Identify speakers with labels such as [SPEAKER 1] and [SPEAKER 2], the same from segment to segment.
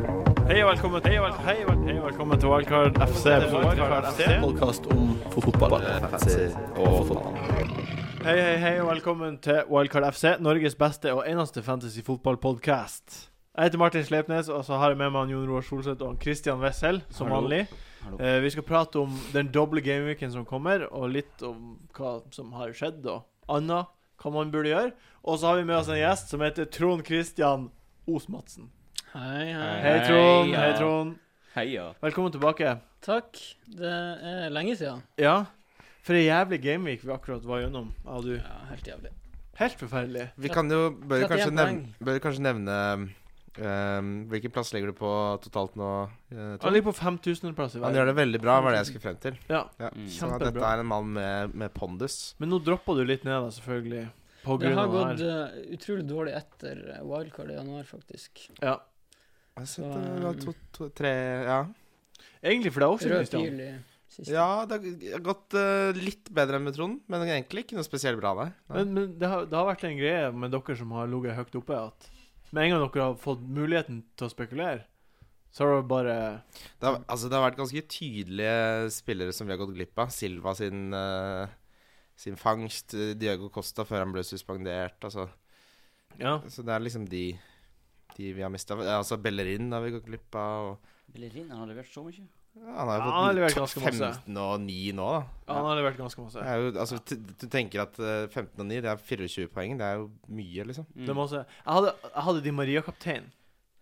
[SPEAKER 1] og velkommen til Wildcard Hei og vel- hei og velkommen til Wildcard FC. Wildcard FC.
[SPEAKER 2] podkast om fotball.
[SPEAKER 1] Hei, hei, hei og velkommen til Wildcard FC, Norges beste og eneste fantasy fotballpodkast. Jeg heter Martin Sleipnes, og så har jeg med meg han Jon Roar Solseth og han Christian Wessel, som
[SPEAKER 3] Hallo.
[SPEAKER 1] vanlig.
[SPEAKER 3] Hallo.
[SPEAKER 1] Eh, vi skal prate om den doble gameweeken som kommer, og litt om hva som har skjedd, og annet hva man burde gjøre. Og så har vi med oss en gjest som heter Trond Christian Osmadsen.
[SPEAKER 4] Hei, hei.
[SPEAKER 1] Hei, Trond.
[SPEAKER 4] ja.
[SPEAKER 1] Hei, Trond.
[SPEAKER 3] Heia.
[SPEAKER 1] Velkommen tilbake.
[SPEAKER 4] Takk. Det er lenge siden.
[SPEAKER 1] Ja. For ei jævlig gameweek vi akkurat var gjennom, av du.
[SPEAKER 4] Ja, helt jævlig.
[SPEAKER 1] Helt forferdelig.
[SPEAKER 5] Vi kan jo bør jo
[SPEAKER 4] 31
[SPEAKER 5] kanskje
[SPEAKER 4] poeng.
[SPEAKER 5] nevne, bør jo kanskje nevne ehm, Hvilken plass legger du på totalt nå? eh,
[SPEAKER 1] Han
[SPEAKER 5] Tom?
[SPEAKER 1] ligger på 5000.-plass i
[SPEAKER 5] Han
[SPEAKER 1] verden.
[SPEAKER 5] gjør det veldig bra, var det jeg skulle frem til.
[SPEAKER 1] Ja.
[SPEAKER 5] Ja.
[SPEAKER 3] Mm.
[SPEAKER 5] Så
[SPEAKER 1] Kjempebra.
[SPEAKER 5] dette er en mann med, med pondus.
[SPEAKER 1] Men nå droppa du litt ned, da, selvfølgelig. På
[SPEAKER 4] Det
[SPEAKER 1] grunn
[SPEAKER 4] har
[SPEAKER 1] av det
[SPEAKER 4] gått
[SPEAKER 1] her.
[SPEAKER 4] eh, utrolig dårlig etter eh, wildcard i januar, faktisk.
[SPEAKER 1] Ja.
[SPEAKER 5] Jeg har sett,
[SPEAKER 4] Så,
[SPEAKER 5] eh, det var
[SPEAKER 4] ehm,
[SPEAKER 5] to, to, tre, ja.
[SPEAKER 1] Egentlig for det er også
[SPEAKER 4] Rød
[SPEAKER 1] Kristian.
[SPEAKER 4] pil i siste.
[SPEAKER 5] ja, det har gått eh, litt bedre enn med Trond, men egentlig ikke noe spesielt bra der. Nei.
[SPEAKER 1] Men, men det, har, det har vært en greie med dere som har ligget høyt oppe, at med en gang dere har fått muligheten til å spekulere, så har det bare
[SPEAKER 5] Det har, altså, det har vært ganske tydelige spillere som vi har gått glipp av. Silva sin, eh, sin fangst, eh, Diego Costa før han ble suspendert. Altså.
[SPEAKER 1] Ja.
[SPEAKER 5] Så det er liksom de, de vi har mista. Altså Bellerin har vi gått glipp av. Og,
[SPEAKER 3] Bellerin han har levert så mye.
[SPEAKER 5] ja, han har
[SPEAKER 1] Ja, han har
[SPEAKER 5] jo
[SPEAKER 1] levert
[SPEAKER 5] fått
[SPEAKER 1] ganske masse.
[SPEAKER 5] 15 og 9 nå, da.
[SPEAKER 1] Han har levert ganske masse.
[SPEAKER 5] Det er jo, altså, t- du tenker at eh, 15 og 9 det er 24 poeng. Det er jo mye, liksom.
[SPEAKER 3] Mm.
[SPEAKER 1] Det må også, jeg, hadde, jeg hadde Di Maria-kaptein.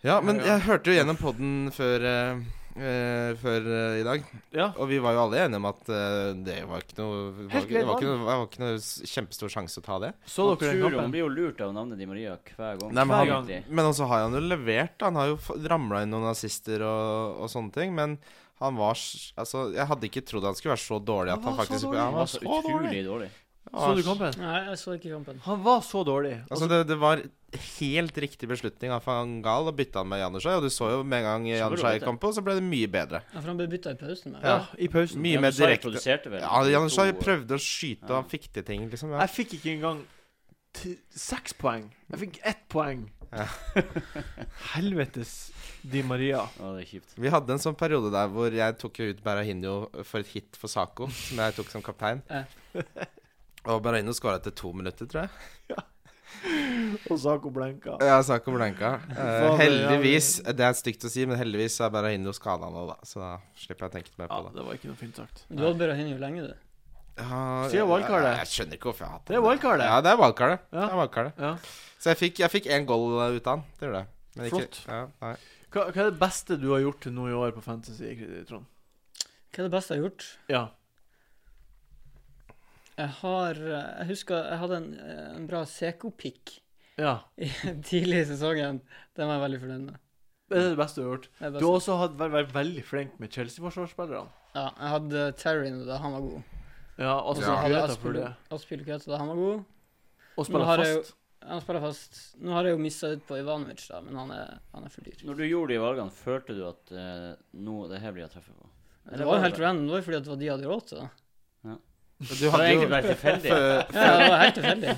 [SPEAKER 5] Ja, men
[SPEAKER 1] Ja, ja.
[SPEAKER 5] jeg hørte jo gjennom poden før, eh, eh, før eh, i dag.
[SPEAKER 1] Ja.
[SPEAKER 5] Og vi var jo alle enige om at eh, det var ikke noe var,
[SPEAKER 1] Helt
[SPEAKER 5] Det
[SPEAKER 1] greit
[SPEAKER 5] var ikke noe, var ikke noe s- kjempestor sjanse å ta det.
[SPEAKER 1] Så dere
[SPEAKER 3] Han
[SPEAKER 1] den
[SPEAKER 3] tror jo- Han
[SPEAKER 1] kampen?
[SPEAKER 3] blir jo lurt av navnet Di Maria hver gang.
[SPEAKER 5] Nei, men
[SPEAKER 1] han-
[SPEAKER 3] egentlig.
[SPEAKER 5] Men også har han jo levert. da. Han har jo ramla inn noen assister og, og sånne ting. Men han var s- Altså, jeg hadde ikke trodd han skulle være så dårlig at
[SPEAKER 1] Han
[SPEAKER 5] han
[SPEAKER 1] var så
[SPEAKER 5] faktisk
[SPEAKER 1] dårlig.
[SPEAKER 5] ja,
[SPEAKER 3] Han var så Altså, utrolig dårlig.
[SPEAKER 5] Han
[SPEAKER 1] Så
[SPEAKER 5] var
[SPEAKER 1] du
[SPEAKER 5] s-
[SPEAKER 1] kampen?
[SPEAKER 4] Nei, jeg så ikke kampen.
[SPEAKER 1] Han var så dårlig. Og
[SPEAKER 5] Altså, det, det var helt riktig beslutning av van Gaal å bytte han med Janushai. Og du så jo med en gang Janushai
[SPEAKER 3] dette.
[SPEAKER 5] kom på, så ble det mye bedre.
[SPEAKER 4] Ja, for han ble bytta i pausen.
[SPEAKER 1] Ja,
[SPEAKER 4] Ja.
[SPEAKER 1] i pausen.
[SPEAKER 5] Mye
[SPEAKER 3] Ja,
[SPEAKER 5] mer
[SPEAKER 3] Sarri
[SPEAKER 5] direkte.
[SPEAKER 3] produserte vel
[SPEAKER 5] Ja, Janushai
[SPEAKER 3] to-
[SPEAKER 5] prøvde å skyte, og
[SPEAKER 3] Ja.
[SPEAKER 5] han fikk til ting, liksom. Ja.
[SPEAKER 1] Jeg fikk ikke engang t- seks poeng. Jeg fikk ett poeng.
[SPEAKER 5] Ja.
[SPEAKER 1] Helvetes Di Maria.
[SPEAKER 3] Ja, det er kjipt.
[SPEAKER 5] Vi hadde en sånn periode der hvor jeg tok jo ut Berahino for et hit for Saco, som jeg tok som kaptein.
[SPEAKER 4] Ja.
[SPEAKER 5] Og Berahino skåra etter to minutter, tror jeg.
[SPEAKER 1] Og Sako blenka.
[SPEAKER 5] Ja, Saco blanka. Eh,
[SPEAKER 1] Fader,
[SPEAKER 5] heldigvis, det er stygt å si, men heldigvis er Berahino skada nå, da. Så da slipper jeg å tenke mer
[SPEAKER 1] Ja,
[SPEAKER 5] på det.
[SPEAKER 1] det var ikke noe fint sagt.
[SPEAKER 4] Du hadde bare henne jo lenge, du.
[SPEAKER 5] Ja,
[SPEAKER 1] Si wildcardet.
[SPEAKER 5] Jeg, jeg skjønner ikke hvorfor jeg har hatt
[SPEAKER 1] Det er wildcardet.
[SPEAKER 5] Ja, det er wildcardet.
[SPEAKER 1] Ja.
[SPEAKER 5] Det er wildcardet.
[SPEAKER 1] Ja.
[SPEAKER 5] Så jeg fikk, jeg fikk én goal ut av han. Det gjorde jeg. Men ikke,
[SPEAKER 1] Flott.
[SPEAKER 5] Ja, nei.
[SPEAKER 1] Hva, hva er det beste du har gjort til nå i år på Fantasy, Trond?
[SPEAKER 4] Hva er det beste jeg har gjort?
[SPEAKER 1] Ja.
[SPEAKER 4] Jeg har eh, Jeg husker jeg hadde en, eh, en bra Seco-pick
[SPEAKER 1] ja.
[SPEAKER 4] i- tidlig i sesongen. Den var jeg veldig fornøyd med.
[SPEAKER 1] Det er det beste du har gjort.
[SPEAKER 4] Det er
[SPEAKER 1] Du
[SPEAKER 4] best.
[SPEAKER 1] har også hatt- vært, vært veldig flink med Chelsea-forsvarsspillerne.
[SPEAKER 4] Ja, jeg hadde Terry nå, da. Han var god.
[SPEAKER 1] Ja, og
[SPEAKER 4] Og
[SPEAKER 1] så
[SPEAKER 4] så
[SPEAKER 5] Ja.
[SPEAKER 1] hadde
[SPEAKER 4] hadde
[SPEAKER 1] jeg
[SPEAKER 4] jeg
[SPEAKER 1] for det.
[SPEAKER 4] Aspil Kueta, da. Han var god.
[SPEAKER 1] Og
[SPEAKER 4] Nå
[SPEAKER 1] spille
[SPEAKER 4] har jeg jo-
[SPEAKER 1] fast.
[SPEAKER 4] Han spiller fast. Nå har jeg jo missa ut på Ivanovic, da, men han er, han er for dyr.
[SPEAKER 3] Når du gjorde de valgene, følte du at eh, nå, det her blir jeg treffet på?
[SPEAKER 4] Det var jo helt random, det var jo fordi at det var de jeg hadde råd til. da.
[SPEAKER 5] Du
[SPEAKER 3] Det var
[SPEAKER 5] hadde jo
[SPEAKER 3] egentlig bare tilfeldig.
[SPEAKER 5] før,
[SPEAKER 4] Ja, det var helt tilfeldig.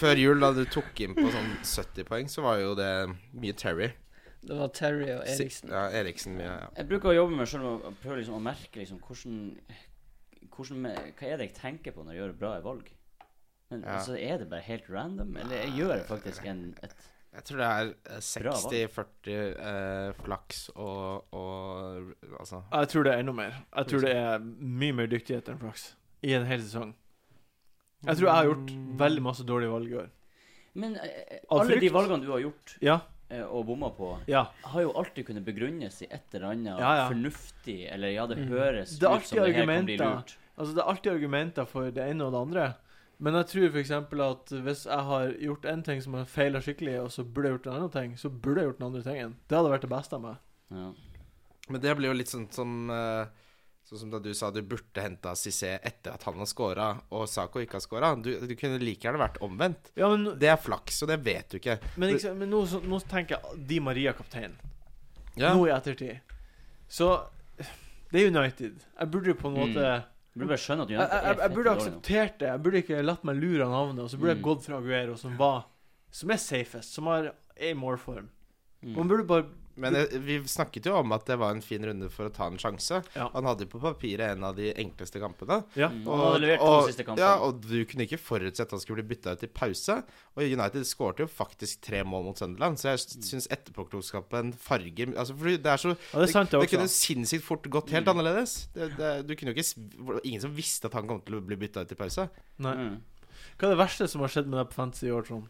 [SPEAKER 5] før jul, da du tok inn på sånn 70 poeng, så var jo det mye Terry.
[SPEAKER 4] Det var Terry og
[SPEAKER 5] Si-
[SPEAKER 4] Eriksen.
[SPEAKER 5] Ja, Eriksen mye, ja.
[SPEAKER 3] Jeg bruker å jobbe med selv med å prøve liksom å merke liksom hvordan, hvordan Hva er det jeg tenker på når jeg gjør bra valg? Men
[SPEAKER 5] Ja.
[SPEAKER 3] altså, er det bare helt random, eller jeg gjør faktisk en et
[SPEAKER 5] Jeg tror det er eh,
[SPEAKER 3] Bra
[SPEAKER 5] 60-40 eh, flaks og, og Altså
[SPEAKER 1] Jeg tror det er enda mer. Jeg tror det er mye mer dyktighet enn flaks i en hel sesong. Jeg tror jeg har gjort veldig masse dårlige valg i år.
[SPEAKER 3] Men eh,
[SPEAKER 1] Av
[SPEAKER 3] alle de
[SPEAKER 1] frykt?
[SPEAKER 3] valgene du har gjort
[SPEAKER 1] Ja.
[SPEAKER 3] eh, og bomma på,
[SPEAKER 1] Ja.
[SPEAKER 3] har jo alltid kunnet begrunnes i et eller annet
[SPEAKER 1] Ja, ja.
[SPEAKER 3] fornuftig Eller ja, det
[SPEAKER 4] Mm.
[SPEAKER 3] høres
[SPEAKER 1] Det er
[SPEAKER 3] ut som
[SPEAKER 1] alltid
[SPEAKER 3] det her kan bli
[SPEAKER 1] argumenter.
[SPEAKER 3] lurt.
[SPEAKER 1] Altså, det er alltid argumenter for det ene og det andre. Men jeg tror f.eks. at hvis jeg har gjort én ting som har feila skikkelig, og så burde jeg gjort en annen ting, så burde jeg gjort den andre tingen. Det hadde vært det beste av meg.
[SPEAKER 3] Ja.
[SPEAKER 5] Men det blir jo litt sånn som eh, Sånn som da du sa du burde henta Cissé etter at han har scora, og Sako ikke har scora. Du, du kunne like gjerne vært omvendt.
[SPEAKER 1] Ja, men,
[SPEAKER 5] Det er flaks, og det vet du ikke.
[SPEAKER 1] men, ikke, sant, men nå, så, nå tenker jeg Di Maria kaptein.
[SPEAKER 5] Ja.
[SPEAKER 1] Nå i ettertid. Så det er United. Jeg burde jo på en
[SPEAKER 3] Mm.
[SPEAKER 1] måte
[SPEAKER 3] Du burde bare skjønne at
[SPEAKER 1] jeg,
[SPEAKER 3] United
[SPEAKER 1] jeg, jeg, jeg
[SPEAKER 3] fette
[SPEAKER 1] burde
[SPEAKER 3] dårlig nå.
[SPEAKER 1] akseptert det. Jeg burde ikke latt meg lure av navnet. Og så burde jeg
[SPEAKER 3] Mm.
[SPEAKER 1] gått fra Aguero, som var Som er safest, som har er i målform.
[SPEAKER 3] Mm.
[SPEAKER 1] Man burde bare
[SPEAKER 5] Men jeg, vi snakket jo om at det var en fin runde for å ta en sjanse.
[SPEAKER 1] Ja.
[SPEAKER 5] Han hadde jo på papiret en av de enkleste kampene.
[SPEAKER 1] Ja.
[SPEAKER 3] Og, han hadde levert to
[SPEAKER 5] og-
[SPEAKER 3] siste kamper.
[SPEAKER 5] ja, og du kunne ikke forutsett at han skulle bli bytta ut i pause. Og United skårte jo faktisk tre mål mot Sunderland, så jeg syns etterpåklokskapen farger altså, fordi det er så
[SPEAKER 1] Ja, det er sant, det
[SPEAKER 5] det kunne
[SPEAKER 1] også. Mm.
[SPEAKER 5] sinnssykt fort gått helt annerledes. Det, det, du kunne jo ikke s- det var Ingen som visste at han kom til å bli bytta ut i pause.
[SPEAKER 1] Nei.
[SPEAKER 3] Mm.
[SPEAKER 1] Hva er det verste som har skjedd med deg på fantasy i år, Trond?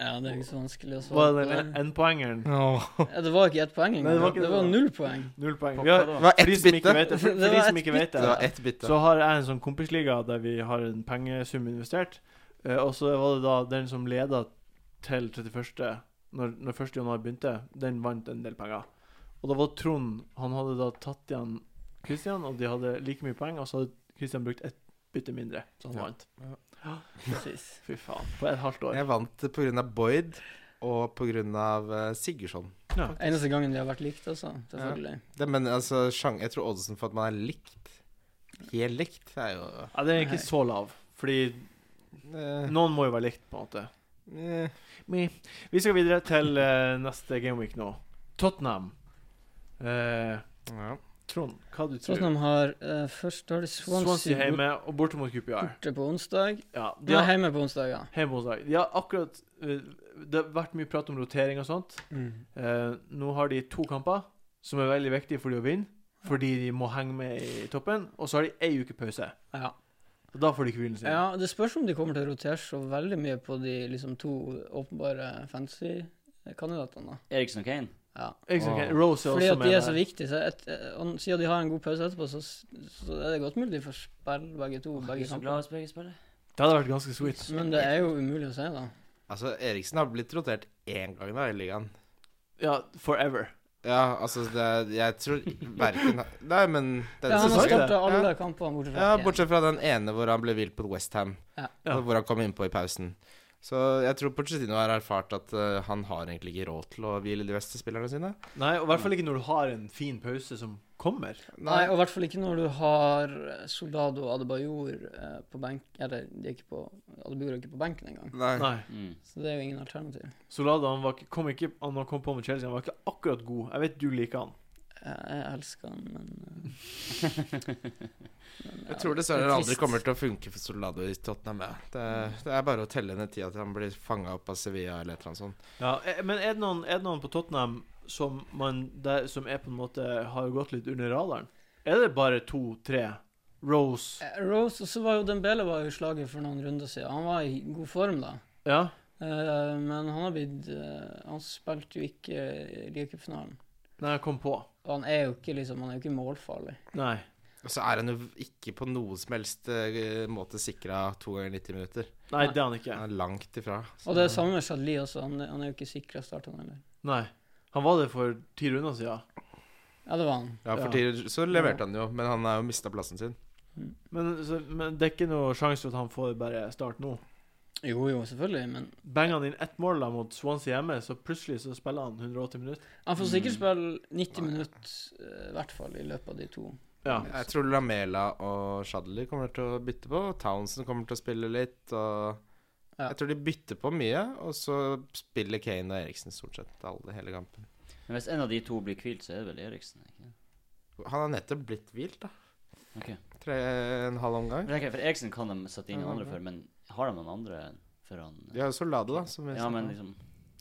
[SPEAKER 4] Ja, det er ikke så vanskelig å svare
[SPEAKER 1] Var det
[SPEAKER 4] på.
[SPEAKER 1] den
[SPEAKER 4] det.
[SPEAKER 1] enpoengeren?
[SPEAKER 4] Ja, det var ikke ett poeng
[SPEAKER 1] Nei,
[SPEAKER 4] engang.
[SPEAKER 1] det
[SPEAKER 4] Det
[SPEAKER 1] var ikke
[SPEAKER 4] var,
[SPEAKER 1] det.
[SPEAKER 4] null poeng.
[SPEAKER 1] Null poeng.
[SPEAKER 3] Hva-
[SPEAKER 1] Vi har,
[SPEAKER 3] hva
[SPEAKER 5] Det var
[SPEAKER 1] for de
[SPEAKER 5] ett
[SPEAKER 1] som ikke
[SPEAKER 5] bytte.
[SPEAKER 1] vet det, for,
[SPEAKER 4] Det
[SPEAKER 1] for de
[SPEAKER 4] var
[SPEAKER 1] som
[SPEAKER 4] ett
[SPEAKER 1] ikke vet
[SPEAKER 5] Det
[SPEAKER 1] det,
[SPEAKER 5] var ett bytte.
[SPEAKER 1] så har jeg en sånn kompisliga der vi har en pengesum investert. Eh, og så var det da den som leda til 31., når, når 1. januar begynte, den vant en del penger. Og da var Trond Han hadde da tatt igjen Christian, og de hadde like mye poeng, og så hadde Christian brukt ett bytte mindre, så han
[SPEAKER 5] Ja.
[SPEAKER 1] vant. Ja, precis. Fy faen. På et halvt år.
[SPEAKER 5] Jeg vant pga. Boyd og pga. eh, Sigurdsson.
[SPEAKER 4] Eneste gangen vi har vært likt, altså. Selvfølgelig.
[SPEAKER 5] Det, men altså, sjang, jeg tror oddsen for at man er likt Helt likt det er jo
[SPEAKER 1] Ja, den er ikke så lav, fordi
[SPEAKER 5] eh,
[SPEAKER 1] noen må jo være likt, på en måte.
[SPEAKER 5] eh,
[SPEAKER 1] Me. Vi skal videre til eh, neste gameweek nå. Tottenham. Eh,
[SPEAKER 5] ja.
[SPEAKER 1] Trond, hva du tror
[SPEAKER 4] Tottenham har eh, først har de Swansea,
[SPEAKER 1] Swansea hjemme og borte mot QPR.
[SPEAKER 4] borte på onsdag.
[SPEAKER 1] Ja,
[SPEAKER 4] De
[SPEAKER 1] de har,
[SPEAKER 4] hjemme på onsdag, ja.
[SPEAKER 1] hjemme hos deg. De har akkurat eh, Det har vært mye prat om rotering og sånt. Eh, nå har de to kamper som er veldig viktige for de å vinne, fordi de må henge med i toppen. Og så har de ei uke pause.
[SPEAKER 4] ja.
[SPEAKER 1] Og da får de hvilen sin.
[SPEAKER 4] Ja, Det spørs om de kommer til å rotere så veldig mye på de liksom, to åpenbare fantasy-kandidatene. da.
[SPEAKER 3] Eriksen og Kane.
[SPEAKER 4] Ja.
[SPEAKER 1] Ikke sant,
[SPEAKER 5] Åh.
[SPEAKER 1] Kane? Rose er
[SPEAKER 4] Fordi
[SPEAKER 1] også
[SPEAKER 4] at
[SPEAKER 1] med
[SPEAKER 4] de er så
[SPEAKER 1] der.
[SPEAKER 4] viktige. Så et, eh, og siden de har en god pause etterpå, så, så er det godt mulig de får spille begge to.
[SPEAKER 3] Er
[SPEAKER 4] Begge
[SPEAKER 3] du så
[SPEAKER 4] kamper.
[SPEAKER 3] glad hvis begge spiller?
[SPEAKER 1] Det hadde vært ganske sweet.
[SPEAKER 4] Men det er jo umulig å si, da.
[SPEAKER 5] Altså, Eriksen har blitt rotert én gang da i ligaen.
[SPEAKER 1] Ja, forever.
[SPEAKER 5] Ja, altså det, er- Jeg tror verken Nei, men den
[SPEAKER 4] Ja, han har
[SPEAKER 1] sesongen.
[SPEAKER 5] sesongen
[SPEAKER 4] starta alle
[SPEAKER 5] Ja.
[SPEAKER 4] kampene bortsett fra
[SPEAKER 5] Ja,
[SPEAKER 4] én.
[SPEAKER 5] bortsett fra den ene hvor han ble vilt på Westham.
[SPEAKER 4] Ja.
[SPEAKER 1] Ja.
[SPEAKER 5] Hvor han kom innpå i pausen. Så jeg tror Porcetino har erfart at eh, han har egentlig ikke råd til å hvile de beste spillerne sine.
[SPEAKER 1] Nei, og i hvert fall ikke når du har en fin pause som kommer.
[SPEAKER 4] Nei, og i hvert fall ikke når du har eh, Soldado og Adebayor eh, på benk Eller de er ikke på Adebayor er ikke på benken engang.
[SPEAKER 5] Nei.
[SPEAKER 1] Nei.
[SPEAKER 3] Mm.
[SPEAKER 4] Så det er jo ingen alternativ.
[SPEAKER 1] Solada han var ikke, kom ikke Han han kom på med Chelsea, han var ikke akkurat god. Jeg vet du liker han.
[SPEAKER 4] Jeg, jeg elsker han, men, eh, men ja,
[SPEAKER 5] Jeg tror
[SPEAKER 4] det
[SPEAKER 5] dessverre
[SPEAKER 4] er
[SPEAKER 5] det aldri
[SPEAKER 4] trist.
[SPEAKER 5] kommer til å funke for Soldado i Tottenham. Ja. Det, det er bare å telle ned tida til han blir fanga opp av Sevilla eller et eller annet sånt.
[SPEAKER 1] Ja, eh, men er det noen, er det noen på Tottenham som, man, der, som er på en måte har gått litt under radaren? Er det bare to-tre? Rose
[SPEAKER 4] Eh, Rose, og så var jo Dembele var jo i slaget for noen runder siden. Han var i god form da.
[SPEAKER 1] Ja?
[SPEAKER 4] Eh, men han har blitt eh, Han spilte jo ikke i ligacupfinalen.
[SPEAKER 1] Nei, jeg kom på.
[SPEAKER 4] Og han er jo ikke liksom Han er jo ikke målfarlig.
[SPEAKER 1] Nei.
[SPEAKER 5] Og så er han jo ikke på noen som helst eh, måte sikra to ganger 90 minutter.
[SPEAKER 1] Nei, det er han ikke.
[SPEAKER 5] Han er langt ifra. Så-
[SPEAKER 4] Og det er samme med Shadli også. Han, han er jo ikke sikra starten heller.
[SPEAKER 1] Nei. Han var det for ti runder siden.
[SPEAKER 4] Ja, det var han.
[SPEAKER 5] Ja, for
[SPEAKER 1] Ja.
[SPEAKER 5] tidligere så leverte han jo, men han har jo mista plassen sin.
[SPEAKER 1] Men, så, men det er ikke noe sjanse for at han får bare start nå.
[SPEAKER 4] Jo, jo, selvfølgelig, men
[SPEAKER 1] Banger han inn ett mål da mot Swansea hjemme, så plutselig så spiller han 180 minutter.
[SPEAKER 4] Han får sikkert
[SPEAKER 3] Mm.
[SPEAKER 4] spille 90 minutter, i hvert fall, i løpet av de to.
[SPEAKER 1] Ja.
[SPEAKER 5] Jeg tror Lamela og Shadley kommer til å bytte på. og Townsend kommer til å spille litt. Og
[SPEAKER 4] Ja.
[SPEAKER 5] Jeg tror de bytter på mye, og så spiller Kane og Eriksen stort sett alle, hele kampen.
[SPEAKER 3] Men hvis en av de to blir hvilt, så er det vel Eriksen? ikke det?
[SPEAKER 5] Han har nettopp blitt hvilt, da.
[SPEAKER 3] Ok.
[SPEAKER 5] Tre en halv
[SPEAKER 3] Men
[SPEAKER 5] omgang.
[SPEAKER 3] tenker jeg, For Eriksen kan de sette inn noen andre for, men har de noen andre for han
[SPEAKER 5] De har jo Soldado, da. Som vi
[SPEAKER 3] Ja,
[SPEAKER 5] snakket
[SPEAKER 3] men
[SPEAKER 5] om.
[SPEAKER 3] liksom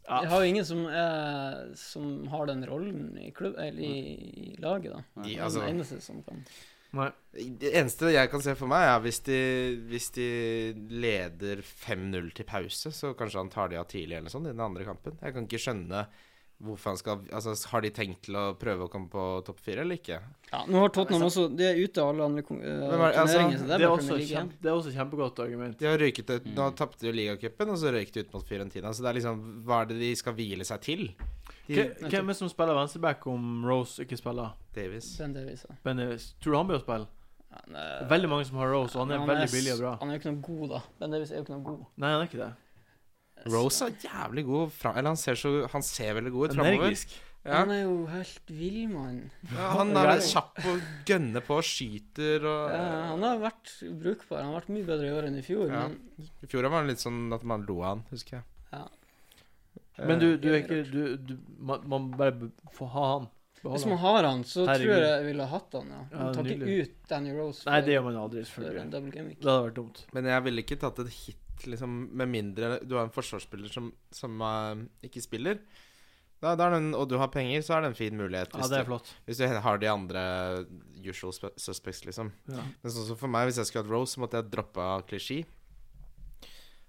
[SPEAKER 1] Ja.
[SPEAKER 4] Jeg har jo ingen som, er, som har den rollen i, klubb, eller i, i laget, da.
[SPEAKER 3] Nei.
[SPEAKER 5] de,
[SPEAKER 4] Han er
[SPEAKER 5] altså,
[SPEAKER 4] den eneste som kan.
[SPEAKER 1] Nei.
[SPEAKER 5] det eneste jeg kan se for meg, er hvis de, hvis de leder 5-0 til pause, så kanskje han tar de av tidlig eller noe sånt i den andre kampen. Jeg kan ikke skjønne hvorfor han skal Altså, har de tenkt til å prøve å komme på topp fire, eller ikke?
[SPEAKER 4] Ja, nå har Tottenham også De er ute av alle andre kon- eh,
[SPEAKER 5] er det- altså,
[SPEAKER 4] turneringer, så det
[SPEAKER 1] Det
[SPEAKER 4] er
[SPEAKER 1] er også
[SPEAKER 4] bare Premier
[SPEAKER 1] et
[SPEAKER 4] League igjen.
[SPEAKER 1] kjempe, det er også et kjempegodt argument.
[SPEAKER 5] De har røyket ut, Nå tapte de jo ligacupen, og så røyk de ut mot Fiorentina. Så det er liksom Hva er det de skal hvile seg til? De,
[SPEAKER 1] Hvem hvem er det som spiller venstreback om Rose ikke spiller?
[SPEAKER 5] Davis.
[SPEAKER 4] Den Davies, ja.
[SPEAKER 1] Ben Davis. Tror du han blir å spille?
[SPEAKER 4] Ja, eh, nei,
[SPEAKER 1] Veldig mange som har Rose, og han er
[SPEAKER 4] men
[SPEAKER 1] veldig
[SPEAKER 4] s-
[SPEAKER 1] billig og bra.
[SPEAKER 4] Han er jo ikke noe god, da. Ben Davies er jo ikke noe god.
[SPEAKER 1] Nei, han er ikke det.
[SPEAKER 4] Altså-
[SPEAKER 5] Rose er jævlig god fra, Eller han ser, så, han ser veldig god ut framover.
[SPEAKER 1] Energisk.
[SPEAKER 5] Ja.
[SPEAKER 4] Han er jo helt vill, mann.
[SPEAKER 5] Ja, han er veldig kjapp og gønner på og skyter og
[SPEAKER 4] Ja, han har vært brukbar. Han har vært mye bedre i år enn i fjor,
[SPEAKER 5] Ja.
[SPEAKER 4] men
[SPEAKER 5] I fjor var han litt sånn at man lo av han, husker jeg.
[SPEAKER 4] Ja.
[SPEAKER 1] Men du, du er ikke du, du, man, man bare b- får ha han.
[SPEAKER 4] Hvis
[SPEAKER 1] Beholde
[SPEAKER 4] man
[SPEAKER 1] han.
[SPEAKER 4] har han, så
[SPEAKER 1] Herregud.
[SPEAKER 4] tror jeg jeg ville hatt han, ja. Man
[SPEAKER 1] Ja,
[SPEAKER 4] tar
[SPEAKER 1] nydelig.
[SPEAKER 4] ikke ut Danny Rose
[SPEAKER 1] Nei, det gjør man aldri,
[SPEAKER 4] for en
[SPEAKER 1] selvfølgelig.
[SPEAKER 4] double gimmick.
[SPEAKER 1] Det hadde vært dumt.
[SPEAKER 5] Men jeg ville ikke tatt et hit, liksom, med mindre du har en forsvarsspiller som, som eh, ikke spiller. Da, da er det en, og du har penger, så er det en fin mulighet.
[SPEAKER 1] Ja,
[SPEAKER 5] Hvis,
[SPEAKER 1] det er
[SPEAKER 5] du,
[SPEAKER 1] flott.
[SPEAKER 5] hvis du har de andre usual spe- suspects, liksom.
[SPEAKER 1] Ja.
[SPEAKER 5] Men sånn som for meg, hvis jeg skulle hatt Rose, så måtte jeg droppa klisjé.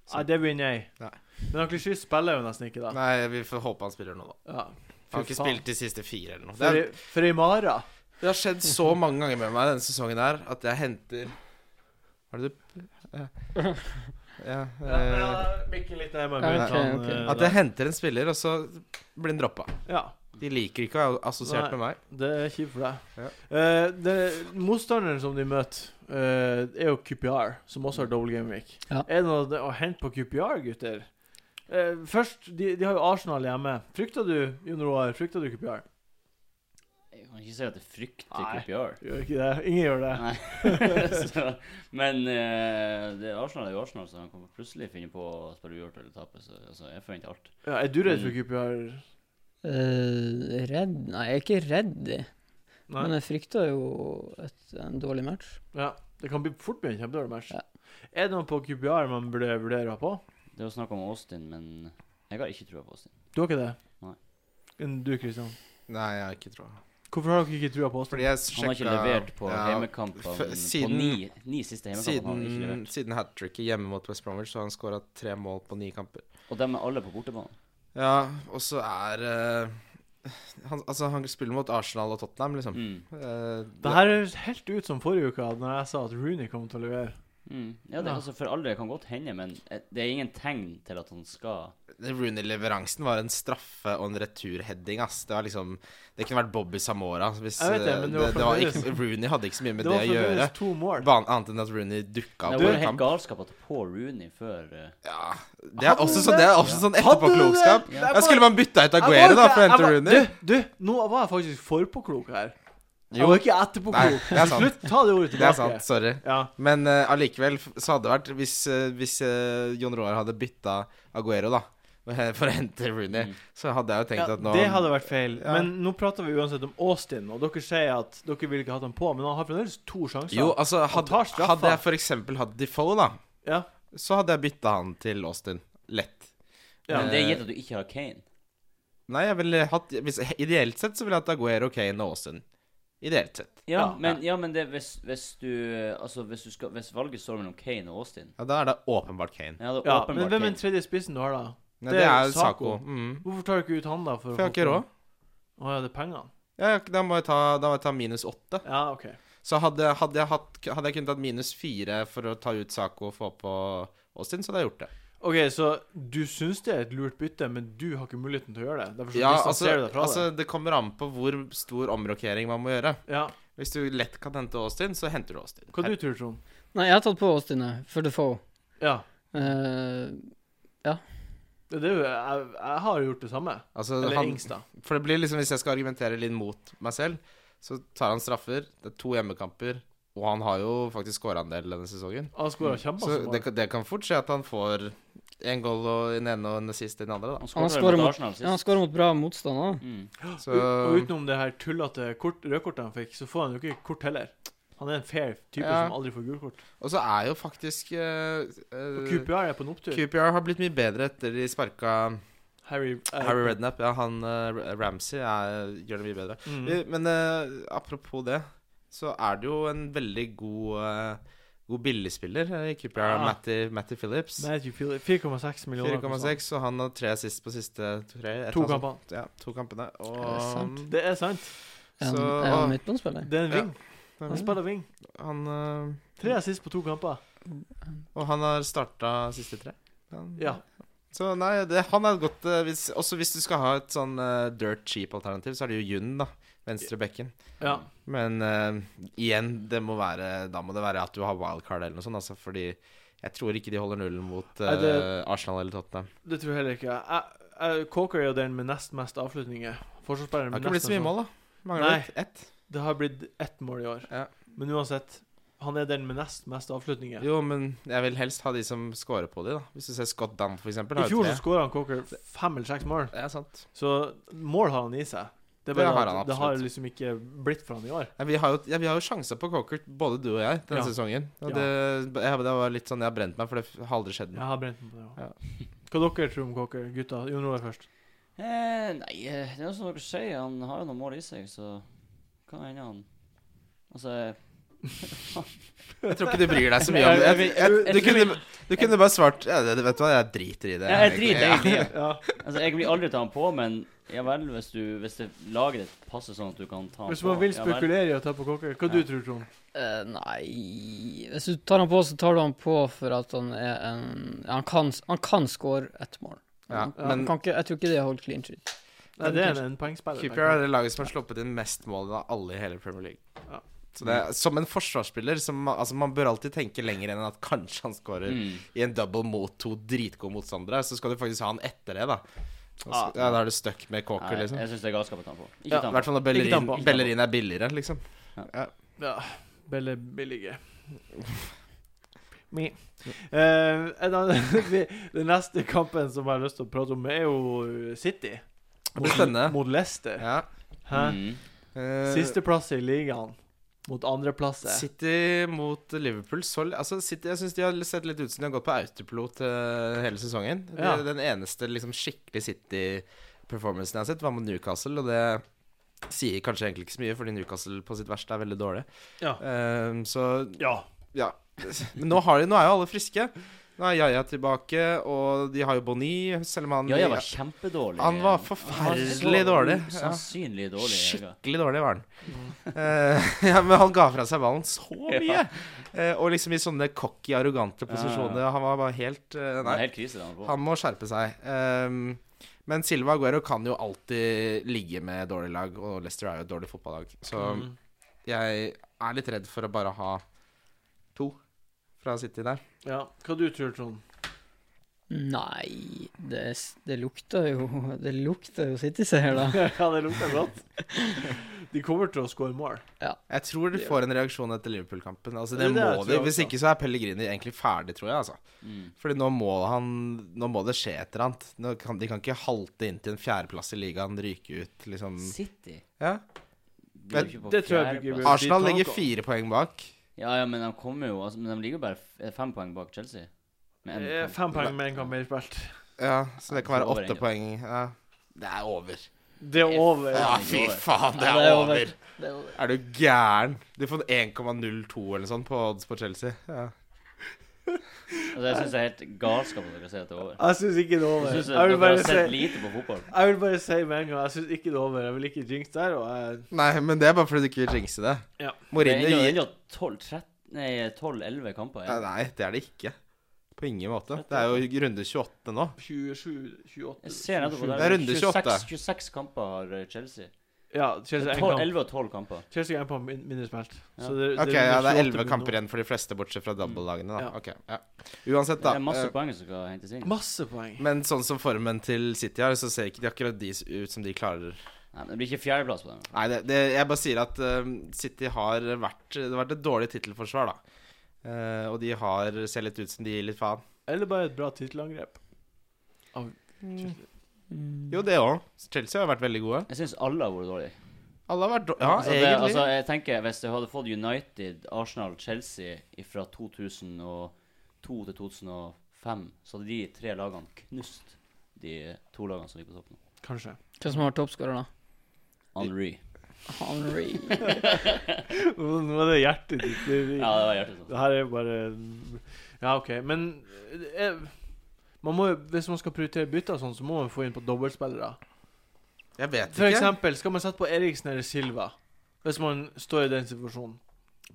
[SPEAKER 1] Nei, det begynner jeg.
[SPEAKER 5] Nei.
[SPEAKER 1] Men han klisjé spiller jo nesten ikke, da.
[SPEAKER 5] Nei, vi får håpe han spiller nå, da.
[SPEAKER 1] Ja.
[SPEAKER 5] Han har
[SPEAKER 1] Fy
[SPEAKER 5] ikke
[SPEAKER 1] faen.
[SPEAKER 5] spilt de siste fire eller noe. Det,
[SPEAKER 1] For,
[SPEAKER 5] er,
[SPEAKER 1] i- for i Mara
[SPEAKER 5] det har skjedd så mange ganger med meg denne sesongen her at jeg henter Har du eh, Ja. eh,
[SPEAKER 1] Mikken litt nærmere
[SPEAKER 4] Ja, ok,
[SPEAKER 1] munnen,
[SPEAKER 4] ok.
[SPEAKER 1] eh,
[SPEAKER 5] At jeg henter en spiller, og så blir han droppa.
[SPEAKER 1] Ja.
[SPEAKER 5] De liker ikke å være
[SPEAKER 1] Nei.
[SPEAKER 5] assosiert med meg.
[SPEAKER 1] Det er kjipt for deg. Eh, det, motstanderen som de møter, eh, er jo QPR, som også har double game week.
[SPEAKER 4] Ja.
[SPEAKER 1] Er det noe det- å hente på QPR, gutter? Eh, først, de, de har jo Arsenal hjemme. Frykter du Jon Roar? Frykter du QPR?
[SPEAKER 3] Jeg kan ikke si at jeg frykter
[SPEAKER 1] Nei.
[SPEAKER 3] QPR.
[SPEAKER 1] Gjør ikke det. Ingen gjør det.
[SPEAKER 3] Nei. så, men eh, det er Arsenal er jo Arsenal, så han kommer plutselig finne på å spille uavgjort eller tape. Så altså, jeg forventer alt.
[SPEAKER 1] Ja, er du redd for
[SPEAKER 3] Mm.
[SPEAKER 1] QPR?
[SPEAKER 4] Eh, redd Nei, jeg er ikke redd,
[SPEAKER 1] Nei.
[SPEAKER 4] men eh, jeg frykter jo et, en dårlig match.
[SPEAKER 1] Ja, det kan bli fort bli en kjempedårlig match.
[SPEAKER 4] Ja.
[SPEAKER 1] Er det noe på QPR man burde vurdere på?
[SPEAKER 3] Det er jo snakk om Austin, men jeg har ikke trua på Austin.
[SPEAKER 1] Du har ikke det?
[SPEAKER 3] Nei.
[SPEAKER 1] Men Du, Kristian.
[SPEAKER 5] Nei, jeg har ikke troa.
[SPEAKER 1] Hvorfor har dere ikke trua på oss?
[SPEAKER 5] Fordi jeg
[SPEAKER 3] Han har ikke levert på
[SPEAKER 5] ja, f-
[SPEAKER 3] hjemmekampene. På
[SPEAKER 5] siden-
[SPEAKER 3] ni, ni siste hjemmekampene har han ikke
[SPEAKER 5] Siden,
[SPEAKER 3] levert.
[SPEAKER 5] siden hat tricket hjemme mot West Bromwich, så har han skåra tre mål på ni kamper.
[SPEAKER 3] Og dem er alle på bortebane.
[SPEAKER 5] Ja, og så er eh, han, Altså, han spiller mot Arsenal og Tottenham, liksom.
[SPEAKER 3] Mm.
[SPEAKER 5] Eh,
[SPEAKER 1] Det her høres helt ut som forrige uke, da jeg sa at Rooney kom til å levere.
[SPEAKER 3] Mm. Ja, det,
[SPEAKER 1] Ja.
[SPEAKER 3] er altså, for alle det kan godt hende, men eh, det er ingen tegn til at han skal
[SPEAKER 5] Rooney-leveransen var en straffe og en returheading, ass. Det var liksom Det kunne vært Bobby Samora. Hvis,
[SPEAKER 1] Jeg vet det, men det var
[SPEAKER 5] eh, det var
[SPEAKER 1] fremdeles-
[SPEAKER 5] ikke, Rooney hadde ikke så mye med
[SPEAKER 1] det
[SPEAKER 5] det,
[SPEAKER 1] var
[SPEAKER 5] å gjøre.
[SPEAKER 1] fremdeles to mål.
[SPEAKER 5] Ban- Annet enn at Rooney dukka
[SPEAKER 3] Det
[SPEAKER 5] opp
[SPEAKER 3] var
[SPEAKER 5] i
[SPEAKER 3] jo
[SPEAKER 5] en
[SPEAKER 3] helt
[SPEAKER 5] kamp.
[SPEAKER 3] galskap at på Rooney før eh,
[SPEAKER 5] Ja, det er
[SPEAKER 1] Hadde
[SPEAKER 5] også
[SPEAKER 1] du
[SPEAKER 5] sånn, det er også sånn etterpåklokskap.
[SPEAKER 1] Det
[SPEAKER 5] Ja,
[SPEAKER 1] var-
[SPEAKER 5] skulle man bytta ut
[SPEAKER 1] Jeg var
[SPEAKER 5] Aguero da
[SPEAKER 1] ikke-
[SPEAKER 5] for å
[SPEAKER 1] jeg
[SPEAKER 5] hente
[SPEAKER 1] var-
[SPEAKER 5] Rooney?
[SPEAKER 1] Du, du, nå var jeg faktisk forpåklok her. Jeg
[SPEAKER 5] Jo.
[SPEAKER 1] var ikke
[SPEAKER 5] Nei,
[SPEAKER 1] etterpåklok.
[SPEAKER 5] det er sant.
[SPEAKER 1] Slutt, ta det ordet
[SPEAKER 5] Det
[SPEAKER 1] tilbake.
[SPEAKER 5] er sant. Sorry.
[SPEAKER 1] Ja.
[SPEAKER 5] Men eh, allikevel f- så hadde det vært Hvis, eh, hvis eh, Jon Roar hadde bytta Aguero, da, for å hente Rooney,
[SPEAKER 3] Mm.
[SPEAKER 5] så hadde jeg jo tenkt
[SPEAKER 1] Ja,
[SPEAKER 5] at nå
[SPEAKER 1] det hadde vært feil.
[SPEAKER 5] Ja.
[SPEAKER 1] Men nå prater vi uansett om Austin, og dere sier at dere ville ikke hatt han på, men han har fremdeles to sjanser.
[SPEAKER 5] Jo, altså, hadde,
[SPEAKER 1] tar straffa.
[SPEAKER 5] hadde jeg f.eks. hatt Defoe, da,
[SPEAKER 1] Ja.
[SPEAKER 5] så hadde jeg bytta han til Austin. Lett.
[SPEAKER 1] Ja.
[SPEAKER 3] Men det er gitt at du ikke har Kane.
[SPEAKER 5] Nei, jeg ville hatt hvis, Ideelt sett så ville jeg hatt Aguero, Kane og Austin. Ideelt sett.
[SPEAKER 3] Ja,
[SPEAKER 1] Ja.
[SPEAKER 3] men, ja, men det, hvis, hvis du eh, Altså, hvis, du skal, hvis valget står mellom Kane og Austin
[SPEAKER 5] Ja, Da er det åpenbart Kane.
[SPEAKER 3] Ja, det er
[SPEAKER 1] ja,
[SPEAKER 3] åpenbart
[SPEAKER 1] men hvem er den
[SPEAKER 3] Kane.
[SPEAKER 1] tredje spissen du har, da?
[SPEAKER 5] Ja,
[SPEAKER 1] Det
[SPEAKER 5] det,
[SPEAKER 1] er
[SPEAKER 5] er jo Saco.
[SPEAKER 1] Sako.
[SPEAKER 5] Mm.
[SPEAKER 1] Hvorfor tar du ikke ut han, da? For, å
[SPEAKER 5] For jeg har
[SPEAKER 1] få-
[SPEAKER 5] ikke råd.
[SPEAKER 1] Å ja, det er pengene?
[SPEAKER 5] Ja, ja, da, må jeg ta, da må jeg ta minus åtte.
[SPEAKER 1] Ja, OK.
[SPEAKER 5] Så hadde, hadde, jeg hatt, hadde jeg kunnet hatt minus fire for å ta ut Saco og få på Austin, så hadde jeg gjort det.
[SPEAKER 1] Ok, Så du syns det er et lurt bytte, men du har ikke muligheten til å gjøre det? Derfor så
[SPEAKER 5] Ja, altså,
[SPEAKER 1] distanserer du deg fra
[SPEAKER 5] altså Det kommer an på hvor stor omrokering man må gjøre.
[SPEAKER 1] det. Ja.
[SPEAKER 5] Hvis du lett kan hente Austin, så henter du Austin.
[SPEAKER 1] Hva du tror du, Trond?
[SPEAKER 4] Nei, jeg har tatt på Austin jeg, for Defoe.
[SPEAKER 1] Ja.
[SPEAKER 4] Eh,
[SPEAKER 1] Det er jo, jeg, jeg har gjort det samme.
[SPEAKER 5] Altså,
[SPEAKER 1] Eller
[SPEAKER 5] han,
[SPEAKER 1] Ingstad.
[SPEAKER 5] for det blir liksom, hvis jeg skal argumentere litt mot meg selv, så tar han straffer. Det er to hjemmekamper, og han har jo faktisk skåra en del denne sesongen.
[SPEAKER 1] Han skåra kjempa
[SPEAKER 5] Så
[SPEAKER 1] som
[SPEAKER 5] det,
[SPEAKER 1] mål.
[SPEAKER 5] kan- det kan fort skje at han får en goal og en ene og en assist i den andre, da.
[SPEAKER 3] Han
[SPEAKER 4] Han
[SPEAKER 3] skårer
[SPEAKER 4] skårer
[SPEAKER 3] mot
[SPEAKER 4] mot-
[SPEAKER 3] Arsenal sist.
[SPEAKER 4] ja, han skårer mot bra motstander.
[SPEAKER 3] Mm.
[SPEAKER 5] Så,
[SPEAKER 1] U- Og utenom det her tullete kort- rødkortet han fikk, så får han jo ikke kort heller. Han er en fair type
[SPEAKER 5] Ja.
[SPEAKER 1] som aldri får gulkort.
[SPEAKER 5] og så er jo faktisk eh, eh,
[SPEAKER 1] Og QPR er på en opptur.
[SPEAKER 5] QPR har blitt mye bedre etter de sparka
[SPEAKER 1] Harry, eh,
[SPEAKER 5] Harry Redknapp. Ja, han eh, Ramsey er, gjør det mye bedre.
[SPEAKER 1] Mm.
[SPEAKER 5] Men eh, apropos det, så er det jo en veldig god eh, God billigspiller eh, i QPR,
[SPEAKER 1] Ah.
[SPEAKER 5] Matty, Matty Phillips.
[SPEAKER 1] Matthew Phillips, 4,6 millioner. på sånn.
[SPEAKER 5] 4,6, og han har tre assist på siste tre. et
[SPEAKER 1] To
[SPEAKER 5] eller annet
[SPEAKER 1] kamper.
[SPEAKER 5] sånt. Ja, to kampene. Og
[SPEAKER 4] Er det sant?
[SPEAKER 1] Det er sant.
[SPEAKER 4] Er han-
[SPEAKER 5] Så,
[SPEAKER 4] er han
[SPEAKER 5] ah.
[SPEAKER 4] midtbanespiller?
[SPEAKER 1] Det er en
[SPEAKER 5] Ja.
[SPEAKER 1] ving. Han spiller ving.
[SPEAKER 5] han, eh,
[SPEAKER 1] Tre assist på to kamper.
[SPEAKER 5] og han har starta siste tre. Han,
[SPEAKER 1] Ja.
[SPEAKER 5] Så nei, det, han er et godt eh, hvis, Også hvis du skal ha et sånn eh, dirt cheap-alternativ, så er det jo Jun, da. Venstre bekken.
[SPEAKER 1] ja.
[SPEAKER 5] Men eh, igjen, det må være da må det være at du har wildcard eller noe sånt, altså, fordi jeg tror ikke de holder nullen mot eh,
[SPEAKER 1] Nei, det-
[SPEAKER 5] Arsenal eller Tottenham.
[SPEAKER 1] Det tror jeg heller ikke. Jeg, jeg, Cocker er jo den med nest mest avslutninger. Forsvarsspilleren
[SPEAKER 5] Det
[SPEAKER 1] med
[SPEAKER 5] har ikke
[SPEAKER 1] nest
[SPEAKER 5] blitt så mye
[SPEAKER 1] mest-
[SPEAKER 5] mål, da. Mangler
[SPEAKER 1] Nei.
[SPEAKER 5] litt ett.
[SPEAKER 1] Det har blitt ett mål i år.
[SPEAKER 5] Ja.
[SPEAKER 1] Men uansett, Han er den med nest mest avslutninger.
[SPEAKER 5] Jo, men jeg vil helst ha de som scorer på de, da. Hvis du ser Scott Dunn, for eksempel.
[SPEAKER 1] I
[SPEAKER 5] har jo
[SPEAKER 1] fjor
[SPEAKER 5] tre.
[SPEAKER 1] så skåra han Cocker fem eller seks mål,
[SPEAKER 5] Ja, sant.
[SPEAKER 1] så mål har han i seg. Det, er
[SPEAKER 5] Det
[SPEAKER 1] bare
[SPEAKER 5] har
[SPEAKER 1] at
[SPEAKER 5] han
[SPEAKER 1] det har
[SPEAKER 5] absolutt.
[SPEAKER 1] liksom ikke blitt for han i år.
[SPEAKER 5] Nei, vi, har jo, ja, vi har jo sjanser på Cockert, både du og jeg, denne
[SPEAKER 1] Ja.
[SPEAKER 5] sesongen. Og
[SPEAKER 1] Ja.
[SPEAKER 5] det, jeg, det var litt sånn jeg har brent meg, for det har aldri skjedd
[SPEAKER 1] Jeg
[SPEAKER 5] noe.
[SPEAKER 1] har brent meg på det også. Hva dere tror om Cocker, gutta? Jon Roar først.
[SPEAKER 3] Eh, nei, eh, det er jo som dere sier, han har jo noen mål i seg, så kan hende han Altså
[SPEAKER 5] Jeg tror ikke du bryr deg så mye om det. Jeg, jeg, du, kunne, du kunne bare svart ja, det, Vet du hva, jeg driter i det.
[SPEAKER 3] Ja, jeg driter egentlig
[SPEAKER 5] egentlig.
[SPEAKER 3] i det.
[SPEAKER 1] Ja.
[SPEAKER 3] Altså, jeg blir aldri ta han på, men ja vel, hvis du Hvis det laget ditt passer sånn at du kan ta han
[SPEAKER 1] Hvis
[SPEAKER 3] på
[SPEAKER 1] man vil
[SPEAKER 3] ja vel.
[SPEAKER 1] spekulere i å ta på Cocker, hva du
[SPEAKER 3] Ja.
[SPEAKER 1] tror du, Trond?
[SPEAKER 4] Eh, nei Hvis du tar han på, så tar du han på for at han er en ja, Han kan, han kan score ett mål.
[SPEAKER 5] Ja,
[SPEAKER 4] Han- han
[SPEAKER 5] men-
[SPEAKER 4] kan ikke, jeg tror ikke det holder clean sheet.
[SPEAKER 1] Nei, det er en poengspiller.
[SPEAKER 5] QPR er det laget som har sluppet inn mest mål av alle i hele Premier League.
[SPEAKER 1] Ja.
[SPEAKER 5] Så det er, som en forsvarsspiller som, altså Man bør alltid tenke lenger enn at kanskje han skårer
[SPEAKER 3] Mm.
[SPEAKER 5] i en double mot to dritgode motstandere. Så skal du faktisk ha han etter det, da. Og så-
[SPEAKER 3] Ah.
[SPEAKER 5] Ja, da er du stuck med
[SPEAKER 3] Nei,
[SPEAKER 5] Cocker, liksom.
[SPEAKER 3] Jeg syns det er galskap å ta han på. Ikke
[SPEAKER 5] Ja,
[SPEAKER 3] ta
[SPEAKER 5] I
[SPEAKER 3] han
[SPEAKER 5] hvert
[SPEAKER 3] på.
[SPEAKER 5] fall når
[SPEAKER 1] Ikke ta han på.
[SPEAKER 5] Bellerin, Bellerin er billigere, liksom.
[SPEAKER 1] Ja. Belle billige. Me. Eh, en annen, vi- den neste kampen som jeg har lyst til å prate om, er jo City.
[SPEAKER 5] Det blir spennende.
[SPEAKER 1] Mot Leicester.
[SPEAKER 5] Ja.
[SPEAKER 1] Hæ?
[SPEAKER 3] Mm.
[SPEAKER 5] Eh,
[SPEAKER 1] Sisteplass i ligaen mot andreplasset.
[SPEAKER 5] City mot Liverpool så, altså City, Jeg syns de har sett litt ut som de har gått på autopilot eh, hele sesongen. De,
[SPEAKER 1] Ja.
[SPEAKER 5] Den eneste liksom, skikkelig City-performancen jeg har sett, var mot Newcastle, og det sier kanskje egentlig ikke så mye, fordi Newcastle på sitt verste er veldig dårlig.
[SPEAKER 1] Ja.
[SPEAKER 5] Eh, så
[SPEAKER 1] Ja.
[SPEAKER 5] ja. Men nå, har de, nå er jo alle friske. Nå er Yaya tilbake, og de har jo Boni, selv om han
[SPEAKER 3] Ja, jeg var kjempedårlig. eh,
[SPEAKER 5] Han var
[SPEAKER 3] Han
[SPEAKER 5] forferdelig
[SPEAKER 3] var
[SPEAKER 5] dårlig.
[SPEAKER 3] så
[SPEAKER 5] Ja.
[SPEAKER 3] Sannsynlig dårlig. Jega.
[SPEAKER 5] Skikkelig dårlig var han. Eh, ja, men han ga fra seg ballen så mye! Eh, og liksom i sånne cocky, arrogante posisjoner. Han var bare helt eh,
[SPEAKER 3] Det
[SPEAKER 5] Nei,
[SPEAKER 3] er helt krise det han er på.
[SPEAKER 5] han må skjerpe seg. Ehm, men Silva Aguero kan jo alltid ligge med dårlig lag, og Leicester er jo et dårlig fotballag.
[SPEAKER 1] Mm.
[SPEAKER 5] Så jeg er litt redd for å bare ha to fra City der.
[SPEAKER 1] ja. Hva du tror Trond?
[SPEAKER 4] Nei det, s- det lukter jo Det lukter jo City-seier, da.
[SPEAKER 1] ja, det lukter godt. De kommer til å score mål.
[SPEAKER 5] Jeg tror de får en reaksjon etter Liverpool-kampen. Altså, det
[SPEAKER 1] Det- det
[SPEAKER 5] må
[SPEAKER 1] tror
[SPEAKER 5] de.
[SPEAKER 1] jeg
[SPEAKER 5] Hvis
[SPEAKER 1] også.
[SPEAKER 5] ikke så er Pellegrini egentlig ferdig, tror jeg. altså
[SPEAKER 3] Mm.
[SPEAKER 5] Fordi nå må, han, nå må det skje et eller annet. Nå kan, de kan ikke halte inn til en fjerdeplass i ligaen, ryke ut, liksom.
[SPEAKER 3] City
[SPEAKER 5] Ja.
[SPEAKER 3] de er jo
[SPEAKER 5] Men
[SPEAKER 3] ikke på
[SPEAKER 1] det tror jeg
[SPEAKER 3] fjerdeplass.
[SPEAKER 1] ikke blir-
[SPEAKER 5] Arsenal
[SPEAKER 1] de tar
[SPEAKER 5] ligger
[SPEAKER 1] nok-
[SPEAKER 5] fire poeng bak.
[SPEAKER 3] Ja, ja, men de kommer jo altså, Men de ligger jo bare f- eh, fem poeng bak Chelsea. Med en
[SPEAKER 1] Eh,
[SPEAKER 3] kamp.
[SPEAKER 1] Fem poeng med en kamp mer spilt.
[SPEAKER 5] Ja, så det kan
[SPEAKER 3] Det er
[SPEAKER 5] være
[SPEAKER 3] over ennå.
[SPEAKER 5] åtte poeng. Ja. Det er over.
[SPEAKER 1] Det er over.
[SPEAKER 5] Ja,
[SPEAKER 3] det er
[SPEAKER 5] fy
[SPEAKER 3] over.
[SPEAKER 5] faen, det
[SPEAKER 4] Ja,
[SPEAKER 5] er over.
[SPEAKER 4] Det er over.
[SPEAKER 5] Er du gæren? Du får 1,02 eller noe sånt på odds på Chelsea. Ja.
[SPEAKER 3] Altså, jeg syns det er helt galskap at dere sier at det er over.
[SPEAKER 1] Jeg syns ikke det er over.
[SPEAKER 3] Jeg syns
[SPEAKER 1] Jeg vil
[SPEAKER 3] dere har
[SPEAKER 1] bare
[SPEAKER 3] sett
[SPEAKER 1] si
[SPEAKER 3] lite på fotball.
[SPEAKER 1] jeg vil bare si med en gang Jeg syns ikke det er over. Jeg vil ikke jinx der. Og jeg,
[SPEAKER 5] Nei, men det er bare fordi du ikke vil jinxe det.
[SPEAKER 1] Ja.
[SPEAKER 3] Det
[SPEAKER 5] Mourinho
[SPEAKER 3] er
[SPEAKER 5] gir
[SPEAKER 3] ennå 12-11 kamper
[SPEAKER 5] Nei,
[SPEAKER 3] igjen.
[SPEAKER 5] Nei, det er det ikke. På ingen måte. Det er jo runde 28 nå.
[SPEAKER 1] 27, 28
[SPEAKER 3] Jeg ser nettopp på
[SPEAKER 5] Det er
[SPEAKER 3] der.
[SPEAKER 5] runde 28.
[SPEAKER 3] 26, 26 kamper har eh, Chelsea.
[SPEAKER 1] Ja,
[SPEAKER 3] Det
[SPEAKER 1] Chelsea
[SPEAKER 3] er
[SPEAKER 1] er en
[SPEAKER 3] 12,
[SPEAKER 1] kamp.
[SPEAKER 3] 11 og 12 kamper.
[SPEAKER 1] Chelsea er en kamp min- mindre spilt.
[SPEAKER 3] Ja.
[SPEAKER 1] Så det,
[SPEAKER 5] Ok, ja, det er elleve kamper
[SPEAKER 1] igjen.
[SPEAKER 5] igjen for de fleste, bortsett fra double-lagene. da
[SPEAKER 1] Ja.
[SPEAKER 5] Ok, ja Uansett,
[SPEAKER 3] Det
[SPEAKER 5] da.
[SPEAKER 3] er masse
[SPEAKER 5] eh,
[SPEAKER 3] poeng som skal hentes inn.
[SPEAKER 1] Masse poeng.
[SPEAKER 5] Men sånn som formen til City har, så ser ikke de akkurat de ut som de klarer
[SPEAKER 3] Nei, men Det blir ikke fjerdeplass på dem.
[SPEAKER 5] Nei, det, det, jeg bare sier at eh, City har vært Det har vært et dårlig tittelforsvar, da. Eh, og de har ser litt ut som de gir litt faen.
[SPEAKER 1] Eller bare et bra tittelangrep. Av Chelsea.
[SPEAKER 5] Jo, det òg. Chelsea har vært veldig gode.
[SPEAKER 3] Jeg syns alle har vært dårlige.
[SPEAKER 5] Alle har vært dårlige. Ja,
[SPEAKER 3] altså, det,
[SPEAKER 5] egentlig.
[SPEAKER 3] altså, jeg tenker, Hvis du hadde fått United, Arsenal, Chelsea fra 2002 til 2005, så hadde de tre lagene knust de to lagene som ligger på toppen.
[SPEAKER 1] Kanskje.
[SPEAKER 4] Hvem som har toppskårer, da?
[SPEAKER 3] Henry.
[SPEAKER 4] Henry.
[SPEAKER 1] Nå nå er det hjertet ditt. Det, det,
[SPEAKER 3] Ja, det var hjertet sånn.
[SPEAKER 1] det her er jo bare Ja, OK. Men eh, man må, jo- hvis man skal prioritere bytter sånn, så må man få inn på dobbeltspillere.
[SPEAKER 5] jeg vet
[SPEAKER 1] For
[SPEAKER 5] ikke.
[SPEAKER 1] eksempel, skal man sette på Eriksen eller Silva? Hvis man står i den situasjonen.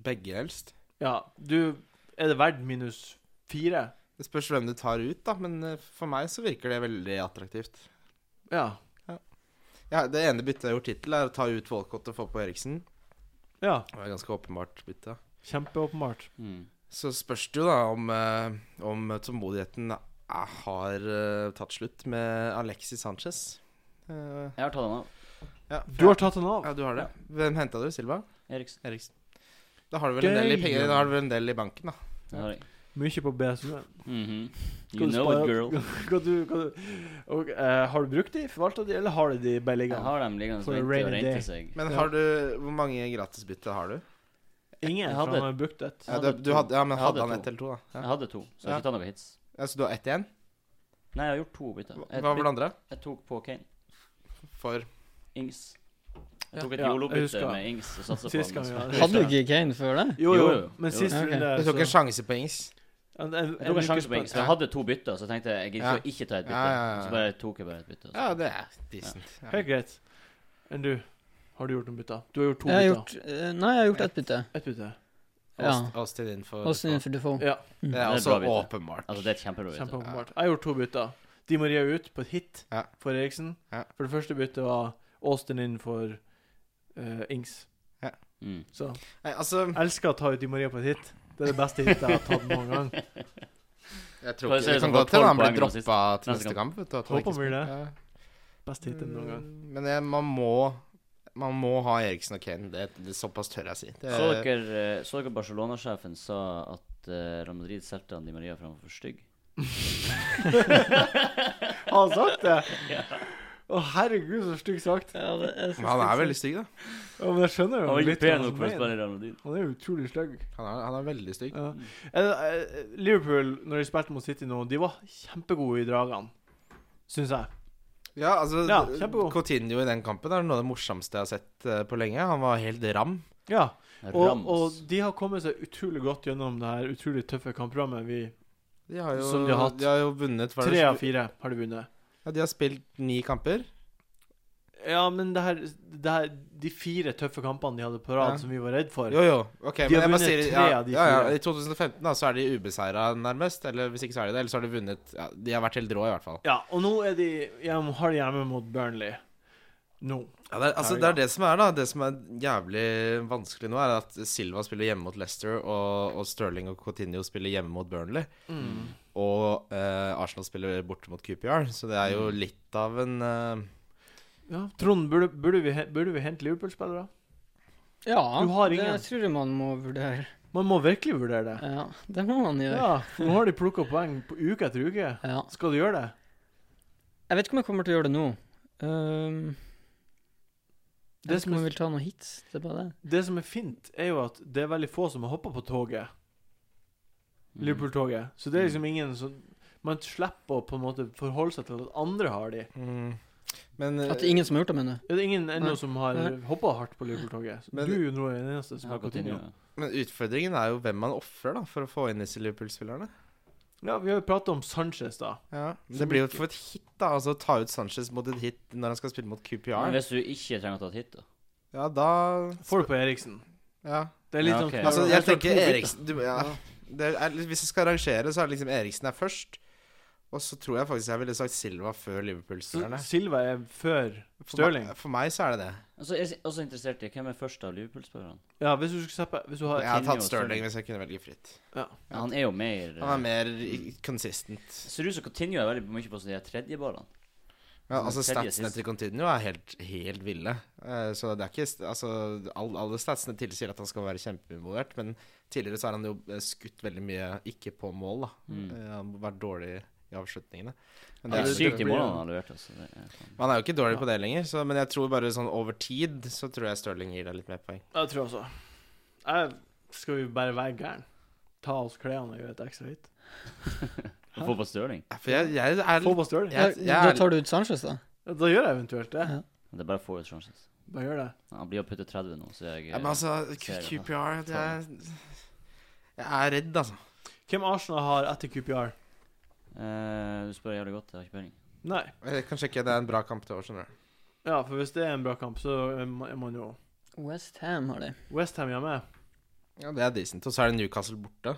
[SPEAKER 5] Begge helst.
[SPEAKER 1] Ja, du Er det verdt minus fire?
[SPEAKER 5] Det spørs hvem du tar ut, da. Men eh, for meg så virker det veldig attraktivt.
[SPEAKER 1] Ja.
[SPEAKER 5] Ja, Det ene byttet jeg har gjort hittil, er å ta ut Walcott og få på Eriksen.
[SPEAKER 1] ja.
[SPEAKER 5] Det var et ganske åpenbart bytte.
[SPEAKER 1] Kjempeåpenbart.
[SPEAKER 3] Mm.
[SPEAKER 5] Så spørs det jo da om, eh, om tålmodigheten er- har eh, tatt slutt med Alexis Sanchez. Eh,
[SPEAKER 3] Jeg har tatt han av.
[SPEAKER 5] ja,
[SPEAKER 1] Du har tatt den av.
[SPEAKER 5] ja, du har det. Hvem henta du? Silva?
[SPEAKER 3] Eriksen.
[SPEAKER 5] Eriksen. Da har du vel en del i
[SPEAKER 1] Gøy.
[SPEAKER 5] penger, da har du vel en del i banken, da.
[SPEAKER 3] Det har jeg.
[SPEAKER 1] Mye på BSU.
[SPEAKER 3] Mhm.
[SPEAKER 1] Hva du
[SPEAKER 3] You know
[SPEAKER 1] sparer-
[SPEAKER 3] it, girl.
[SPEAKER 1] hva du, hva du, og, eh, har du brukt de, forvalta de, eller har du de bare
[SPEAKER 3] Jeg
[SPEAKER 1] liggende?
[SPEAKER 3] har dem liggende
[SPEAKER 1] For
[SPEAKER 3] og
[SPEAKER 1] a
[SPEAKER 3] venter og
[SPEAKER 1] rainy
[SPEAKER 3] renter
[SPEAKER 1] day.
[SPEAKER 3] seg.
[SPEAKER 5] Men
[SPEAKER 1] Ja.
[SPEAKER 5] har du Hvor mange gratisbytte har du?
[SPEAKER 1] Ingen
[SPEAKER 3] Jeg
[SPEAKER 1] fra
[SPEAKER 3] hadde-
[SPEAKER 1] har brukt et.
[SPEAKER 5] Ja,
[SPEAKER 3] Jeg
[SPEAKER 5] du,
[SPEAKER 3] hadde
[SPEAKER 5] du
[SPEAKER 3] to.
[SPEAKER 5] hadde, ja men
[SPEAKER 3] Jeg
[SPEAKER 5] hadde
[SPEAKER 3] hadde to.
[SPEAKER 5] han ett eller to, da?
[SPEAKER 3] Jeg
[SPEAKER 5] Ja.
[SPEAKER 3] hadde to, så jeg
[SPEAKER 5] Ja.
[SPEAKER 3] skal ta noe hits.
[SPEAKER 5] Ja, så du har ett igjen?
[SPEAKER 3] Nei, jeg har gjort to bytter.
[SPEAKER 5] Hva
[SPEAKER 3] Jeg,
[SPEAKER 5] hva var det andre?
[SPEAKER 3] jeg tok på Kane.
[SPEAKER 5] For
[SPEAKER 3] Ings.
[SPEAKER 4] Ja.
[SPEAKER 3] Jeg tok et
[SPEAKER 1] Ja, jeg
[SPEAKER 3] YOLO-bytte
[SPEAKER 1] husker.
[SPEAKER 3] med Ings og satsa på
[SPEAKER 1] Sist gang, ja.
[SPEAKER 3] han.
[SPEAKER 1] det
[SPEAKER 4] Hadde du
[SPEAKER 1] husker jeg.
[SPEAKER 4] ikke Kane før det?
[SPEAKER 1] Jo,
[SPEAKER 3] Jo,
[SPEAKER 1] jo,
[SPEAKER 3] jo.
[SPEAKER 1] men
[SPEAKER 3] Jo.
[SPEAKER 1] sist
[SPEAKER 4] Ok.
[SPEAKER 1] runde
[SPEAKER 5] Du tok en sjanse på Ings?
[SPEAKER 1] en, en,
[SPEAKER 3] Jeg tok en
[SPEAKER 1] uke
[SPEAKER 3] sjanse på
[SPEAKER 1] spenn.
[SPEAKER 3] Ings. Jeg hadde to bytter, så jeg tenkte jeg gidder
[SPEAKER 5] Ja.
[SPEAKER 3] ikke å ikke ta et bytte.
[SPEAKER 5] Ja, ja, ja, ja.
[SPEAKER 3] Så bare tok jeg bare et bytte.
[SPEAKER 5] Ja, det er decent. Ja.
[SPEAKER 1] Helt greit. Enn du? Har du gjort noen bytter? Du har gjort to
[SPEAKER 4] Jeg har
[SPEAKER 1] bytter.
[SPEAKER 4] gjort, eh, nei, jeg har gjort ett bytte.
[SPEAKER 1] Ett bytte.
[SPEAKER 4] Ja.
[SPEAKER 5] Aust- Austin innenfor
[SPEAKER 4] Austin innenfor Defoe.
[SPEAKER 1] Ja,
[SPEAKER 5] Det
[SPEAKER 3] Det
[SPEAKER 5] er
[SPEAKER 3] er
[SPEAKER 5] også
[SPEAKER 3] bra bytte.
[SPEAKER 5] åpenbart.
[SPEAKER 3] Altså, det er et kjempebra bytte.
[SPEAKER 1] kjempeåpenbart. Jeg har gjort to bytter. Di Maria ut på et hit
[SPEAKER 5] Ja.
[SPEAKER 1] for Eriksen.
[SPEAKER 5] Ja.
[SPEAKER 1] For det første byttet var Austin inn for eh, Ings.
[SPEAKER 3] Mm.
[SPEAKER 1] Så
[SPEAKER 5] Nei, altså
[SPEAKER 1] jeg elsker å ta ut Di Maria på et hit. Det er det beste hitet jeg har tatt noen gang.
[SPEAKER 5] Jeg
[SPEAKER 3] Bare se
[SPEAKER 5] tror ikke Det
[SPEAKER 3] hvis
[SPEAKER 5] kan
[SPEAKER 3] han får
[SPEAKER 5] godt hende han
[SPEAKER 3] tolv
[SPEAKER 5] blir
[SPEAKER 3] poeng nå sist.
[SPEAKER 5] droppa til
[SPEAKER 3] Neste
[SPEAKER 5] neste kamp. Vet du, at han
[SPEAKER 1] Håper
[SPEAKER 5] ikke
[SPEAKER 1] han blir
[SPEAKER 5] spiller.
[SPEAKER 1] det. Best hit noen gang.
[SPEAKER 5] Ja. Men eh, man må Man må ha Eriksen og Kane. Det, det er såpass tør jeg å si. Det,
[SPEAKER 3] Så dere, eh, så dere Barcelona-sjefen sa at eh, Real Madrid solgte han Di Maria for han var for stygg?
[SPEAKER 1] Har han sagt det? Å, herregud, så stygt sagt.
[SPEAKER 4] Ja, det er
[SPEAKER 5] men han er veldig stygg, da.
[SPEAKER 1] Ja, men jeg skjønner jo
[SPEAKER 3] Han var
[SPEAKER 1] litt
[SPEAKER 3] ikke
[SPEAKER 1] hva
[SPEAKER 3] pen
[SPEAKER 1] han
[SPEAKER 3] nok for å
[SPEAKER 1] mener.
[SPEAKER 3] spille i Real Madrid.
[SPEAKER 1] Han er jo utrolig stygg.
[SPEAKER 5] Han er, han er veldig stygg.
[SPEAKER 1] Ja. Eh, eh, Liverpool, når de spilte mot City nå, de var kjempegode i dragene, syns jeg.
[SPEAKER 5] Ja, altså
[SPEAKER 1] Ja, kjempegod.
[SPEAKER 5] Coutinho i den kampen er noe av det morsomste jeg har sett eh, på lenge. Han var helt ram.
[SPEAKER 1] Ja, og,
[SPEAKER 3] Rams.
[SPEAKER 1] og de har kommet seg utrolig godt gjennom det her utrolig tøffe kampprogrammet. Vi,
[SPEAKER 5] De har jo,
[SPEAKER 1] Som de har hatt.
[SPEAKER 5] jo vunnet hva er det
[SPEAKER 1] tre
[SPEAKER 5] som-
[SPEAKER 1] av fire har de vunnet.
[SPEAKER 5] Ja, De har spilt ni kamper.
[SPEAKER 1] Ja, men det her, det her De fire tøffe kampene de hadde på
[SPEAKER 5] Ja.
[SPEAKER 1] rad, som vi var redd for
[SPEAKER 5] Jo, jo. Ok,
[SPEAKER 1] De
[SPEAKER 5] men
[SPEAKER 1] har
[SPEAKER 5] jeg bare
[SPEAKER 1] vunnet
[SPEAKER 5] sier-
[SPEAKER 1] tre
[SPEAKER 5] ja,
[SPEAKER 1] av de
[SPEAKER 5] ja, ja,
[SPEAKER 1] fire.
[SPEAKER 5] I 2015 da, så er de ubeseira nærmest. Eller hvis ikke så er de det. Eller så har de vunnet ja, De har vært helt rå, i hvert fall.
[SPEAKER 1] Ja, og nå er de hjemme, har de hjemme mot Burnley. Nå.
[SPEAKER 5] Ja, det er, altså, det er det som er da Det som er jævlig vanskelig nå, er at Silva spiller hjemme mot Leicester, og, og Sterling og Coutinho spiller hjemme mot Burnley.
[SPEAKER 1] Mm.
[SPEAKER 5] Og eh, Arsenal spiller borte mot QPR, så det er jo litt av en eh,
[SPEAKER 1] Ja, Trond, burde, burde, vi, he- burde vi hente Liverpool-spillere?
[SPEAKER 4] Ja,
[SPEAKER 1] Du har
[SPEAKER 4] det
[SPEAKER 1] ingen.
[SPEAKER 4] tror jeg man må vurdere.
[SPEAKER 1] Man må virkelig vurdere det.
[SPEAKER 4] Ja, det må man gjøre.
[SPEAKER 1] Ja, for nå har de plukka poeng på uke etter uke.
[SPEAKER 4] Ja.
[SPEAKER 1] Skal du gjøre det?
[SPEAKER 4] Jeg vet ikke om jeg kommer til å gjøre det nå. Um, jeg
[SPEAKER 1] Det
[SPEAKER 4] vet
[SPEAKER 1] som
[SPEAKER 4] ikke
[SPEAKER 1] er-
[SPEAKER 4] om jeg vil ta noen hits. Det er bare det.
[SPEAKER 1] Det som er fint, er jo at det er veldig få som har hoppa på toget.
[SPEAKER 3] Mm.
[SPEAKER 1] Liverpool-toget. Så det er liksom ingen som Man slipper å på en måte forholde seg til at andre har de.
[SPEAKER 5] mm, Men
[SPEAKER 4] At det er ingen som har gjort det, mener du?
[SPEAKER 1] Ja, Det er ingen ennå
[SPEAKER 4] Nei.
[SPEAKER 1] som har
[SPEAKER 4] Nei.
[SPEAKER 1] hoppa hardt på Liverpool-toget. Så
[SPEAKER 5] Men-
[SPEAKER 1] Du er jo nå den eneste
[SPEAKER 3] Jeg
[SPEAKER 1] som
[SPEAKER 3] har
[SPEAKER 1] har gått inn.
[SPEAKER 3] Coutinho.
[SPEAKER 1] ja.
[SPEAKER 5] eh, Men utfordringen er jo hvem man ofrer da, for å få inn disse Liverpool-spillerne.
[SPEAKER 1] Ja, vi har jo prata om Sanchez, da.
[SPEAKER 5] Ja. Det blir jo for et hit, da. Altså ta ut Sanchez mot et hit når han skal spille mot
[SPEAKER 3] Men
[SPEAKER 5] QPR.
[SPEAKER 3] hvis du ikke trenger å ta et hit, da?
[SPEAKER 5] Ja, da
[SPEAKER 1] Får du på Eriksen.
[SPEAKER 5] Ja.
[SPEAKER 1] Det er litt
[SPEAKER 3] Ja,
[SPEAKER 1] sånn
[SPEAKER 3] ok.
[SPEAKER 1] knall-
[SPEAKER 5] Altså,
[SPEAKER 1] Her
[SPEAKER 5] jeg
[SPEAKER 1] står to
[SPEAKER 5] tenker
[SPEAKER 1] bytter.
[SPEAKER 5] Eriksen du, ja. det er, Hvis jeg skal rangere, så er det liksom Eriksen er først. Og så tror jeg faktisk jeg ville sagt Silva før Liverpool-spillerne.
[SPEAKER 1] Så Silva er før
[SPEAKER 5] For,
[SPEAKER 1] Stirling.
[SPEAKER 5] meg- for meg så er det det.
[SPEAKER 3] Altså, jeg er også interessert i hvem er først av Liverpool-spillerne.
[SPEAKER 1] Ja, hvis du skulle slippe Hvis du har
[SPEAKER 5] Jeg hadde
[SPEAKER 3] Coutinho og
[SPEAKER 5] tatt
[SPEAKER 3] Sterling.
[SPEAKER 5] Stirling hvis jeg kunne velge fritt. Ja.
[SPEAKER 3] Han er jo mer
[SPEAKER 5] Han er mer i- consistent.
[SPEAKER 3] Ser ut som Coutinho er veldig mye på sånne her tredjeballene.
[SPEAKER 5] Ja,
[SPEAKER 3] Så
[SPEAKER 5] altså
[SPEAKER 3] tredje
[SPEAKER 5] Statsene
[SPEAKER 3] sist.
[SPEAKER 5] til Continuo er helt, helt ville. Eh, Så det er ikke st- Altså, all, alle statsene tilsier at han skal være kjempeinvolvert, men tidligere så har han jo eh, skutt veldig mye ikke på mål, da.
[SPEAKER 3] Mm.
[SPEAKER 5] Eh, Han har vært dårlig i avslutningene. Men
[SPEAKER 3] Han er
[SPEAKER 5] det-
[SPEAKER 3] sykt
[SPEAKER 5] det
[SPEAKER 3] i
[SPEAKER 5] blir-
[SPEAKER 3] målene han har levert. Altså. Det er faen.
[SPEAKER 5] Han er jo ikke dårlig på det lenger, så, men jeg tror bare sånn over tid så tror jeg Stirling gir deg litt mer poeng.
[SPEAKER 1] Jeg tror også jeg, Skal vi bare være gæren? Ta oss klærne og gjøre et ekstra hit?
[SPEAKER 3] Å få på Stirling?
[SPEAKER 5] Ja, For jeg, jeg er
[SPEAKER 1] Få
[SPEAKER 5] litt
[SPEAKER 1] på Stirling?
[SPEAKER 5] Jeg-
[SPEAKER 4] Ja,
[SPEAKER 5] jeg
[SPEAKER 4] da
[SPEAKER 5] er-
[SPEAKER 4] tar du ut Sanchez, da?
[SPEAKER 1] Ja, Da gjør jeg eventuelt det.
[SPEAKER 4] Ja.
[SPEAKER 3] Det er bare å få ut chances.
[SPEAKER 1] Bare gjør det.
[SPEAKER 3] Han blir å putte 30 nå, så jeg
[SPEAKER 5] ja, Men altså, Q-
[SPEAKER 3] Ser det,
[SPEAKER 5] QPR det er, Jeg er redd, altså.
[SPEAKER 1] Hvem Arsenal har etter QPR?
[SPEAKER 3] eh, Du spør jævlig godt, jeg har ikke peiling.
[SPEAKER 1] Nei.
[SPEAKER 5] Jeg kan sjekke, det er en bra kamp til år, skjønner du.
[SPEAKER 1] Ja, for hvis det er en bra kamp, så er man er man jo
[SPEAKER 4] West Ham har det.
[SPEAKER 1] Westham hjemme.
[SPEAKER 5] Ja, det er decent. Og så er det Newcastle borte.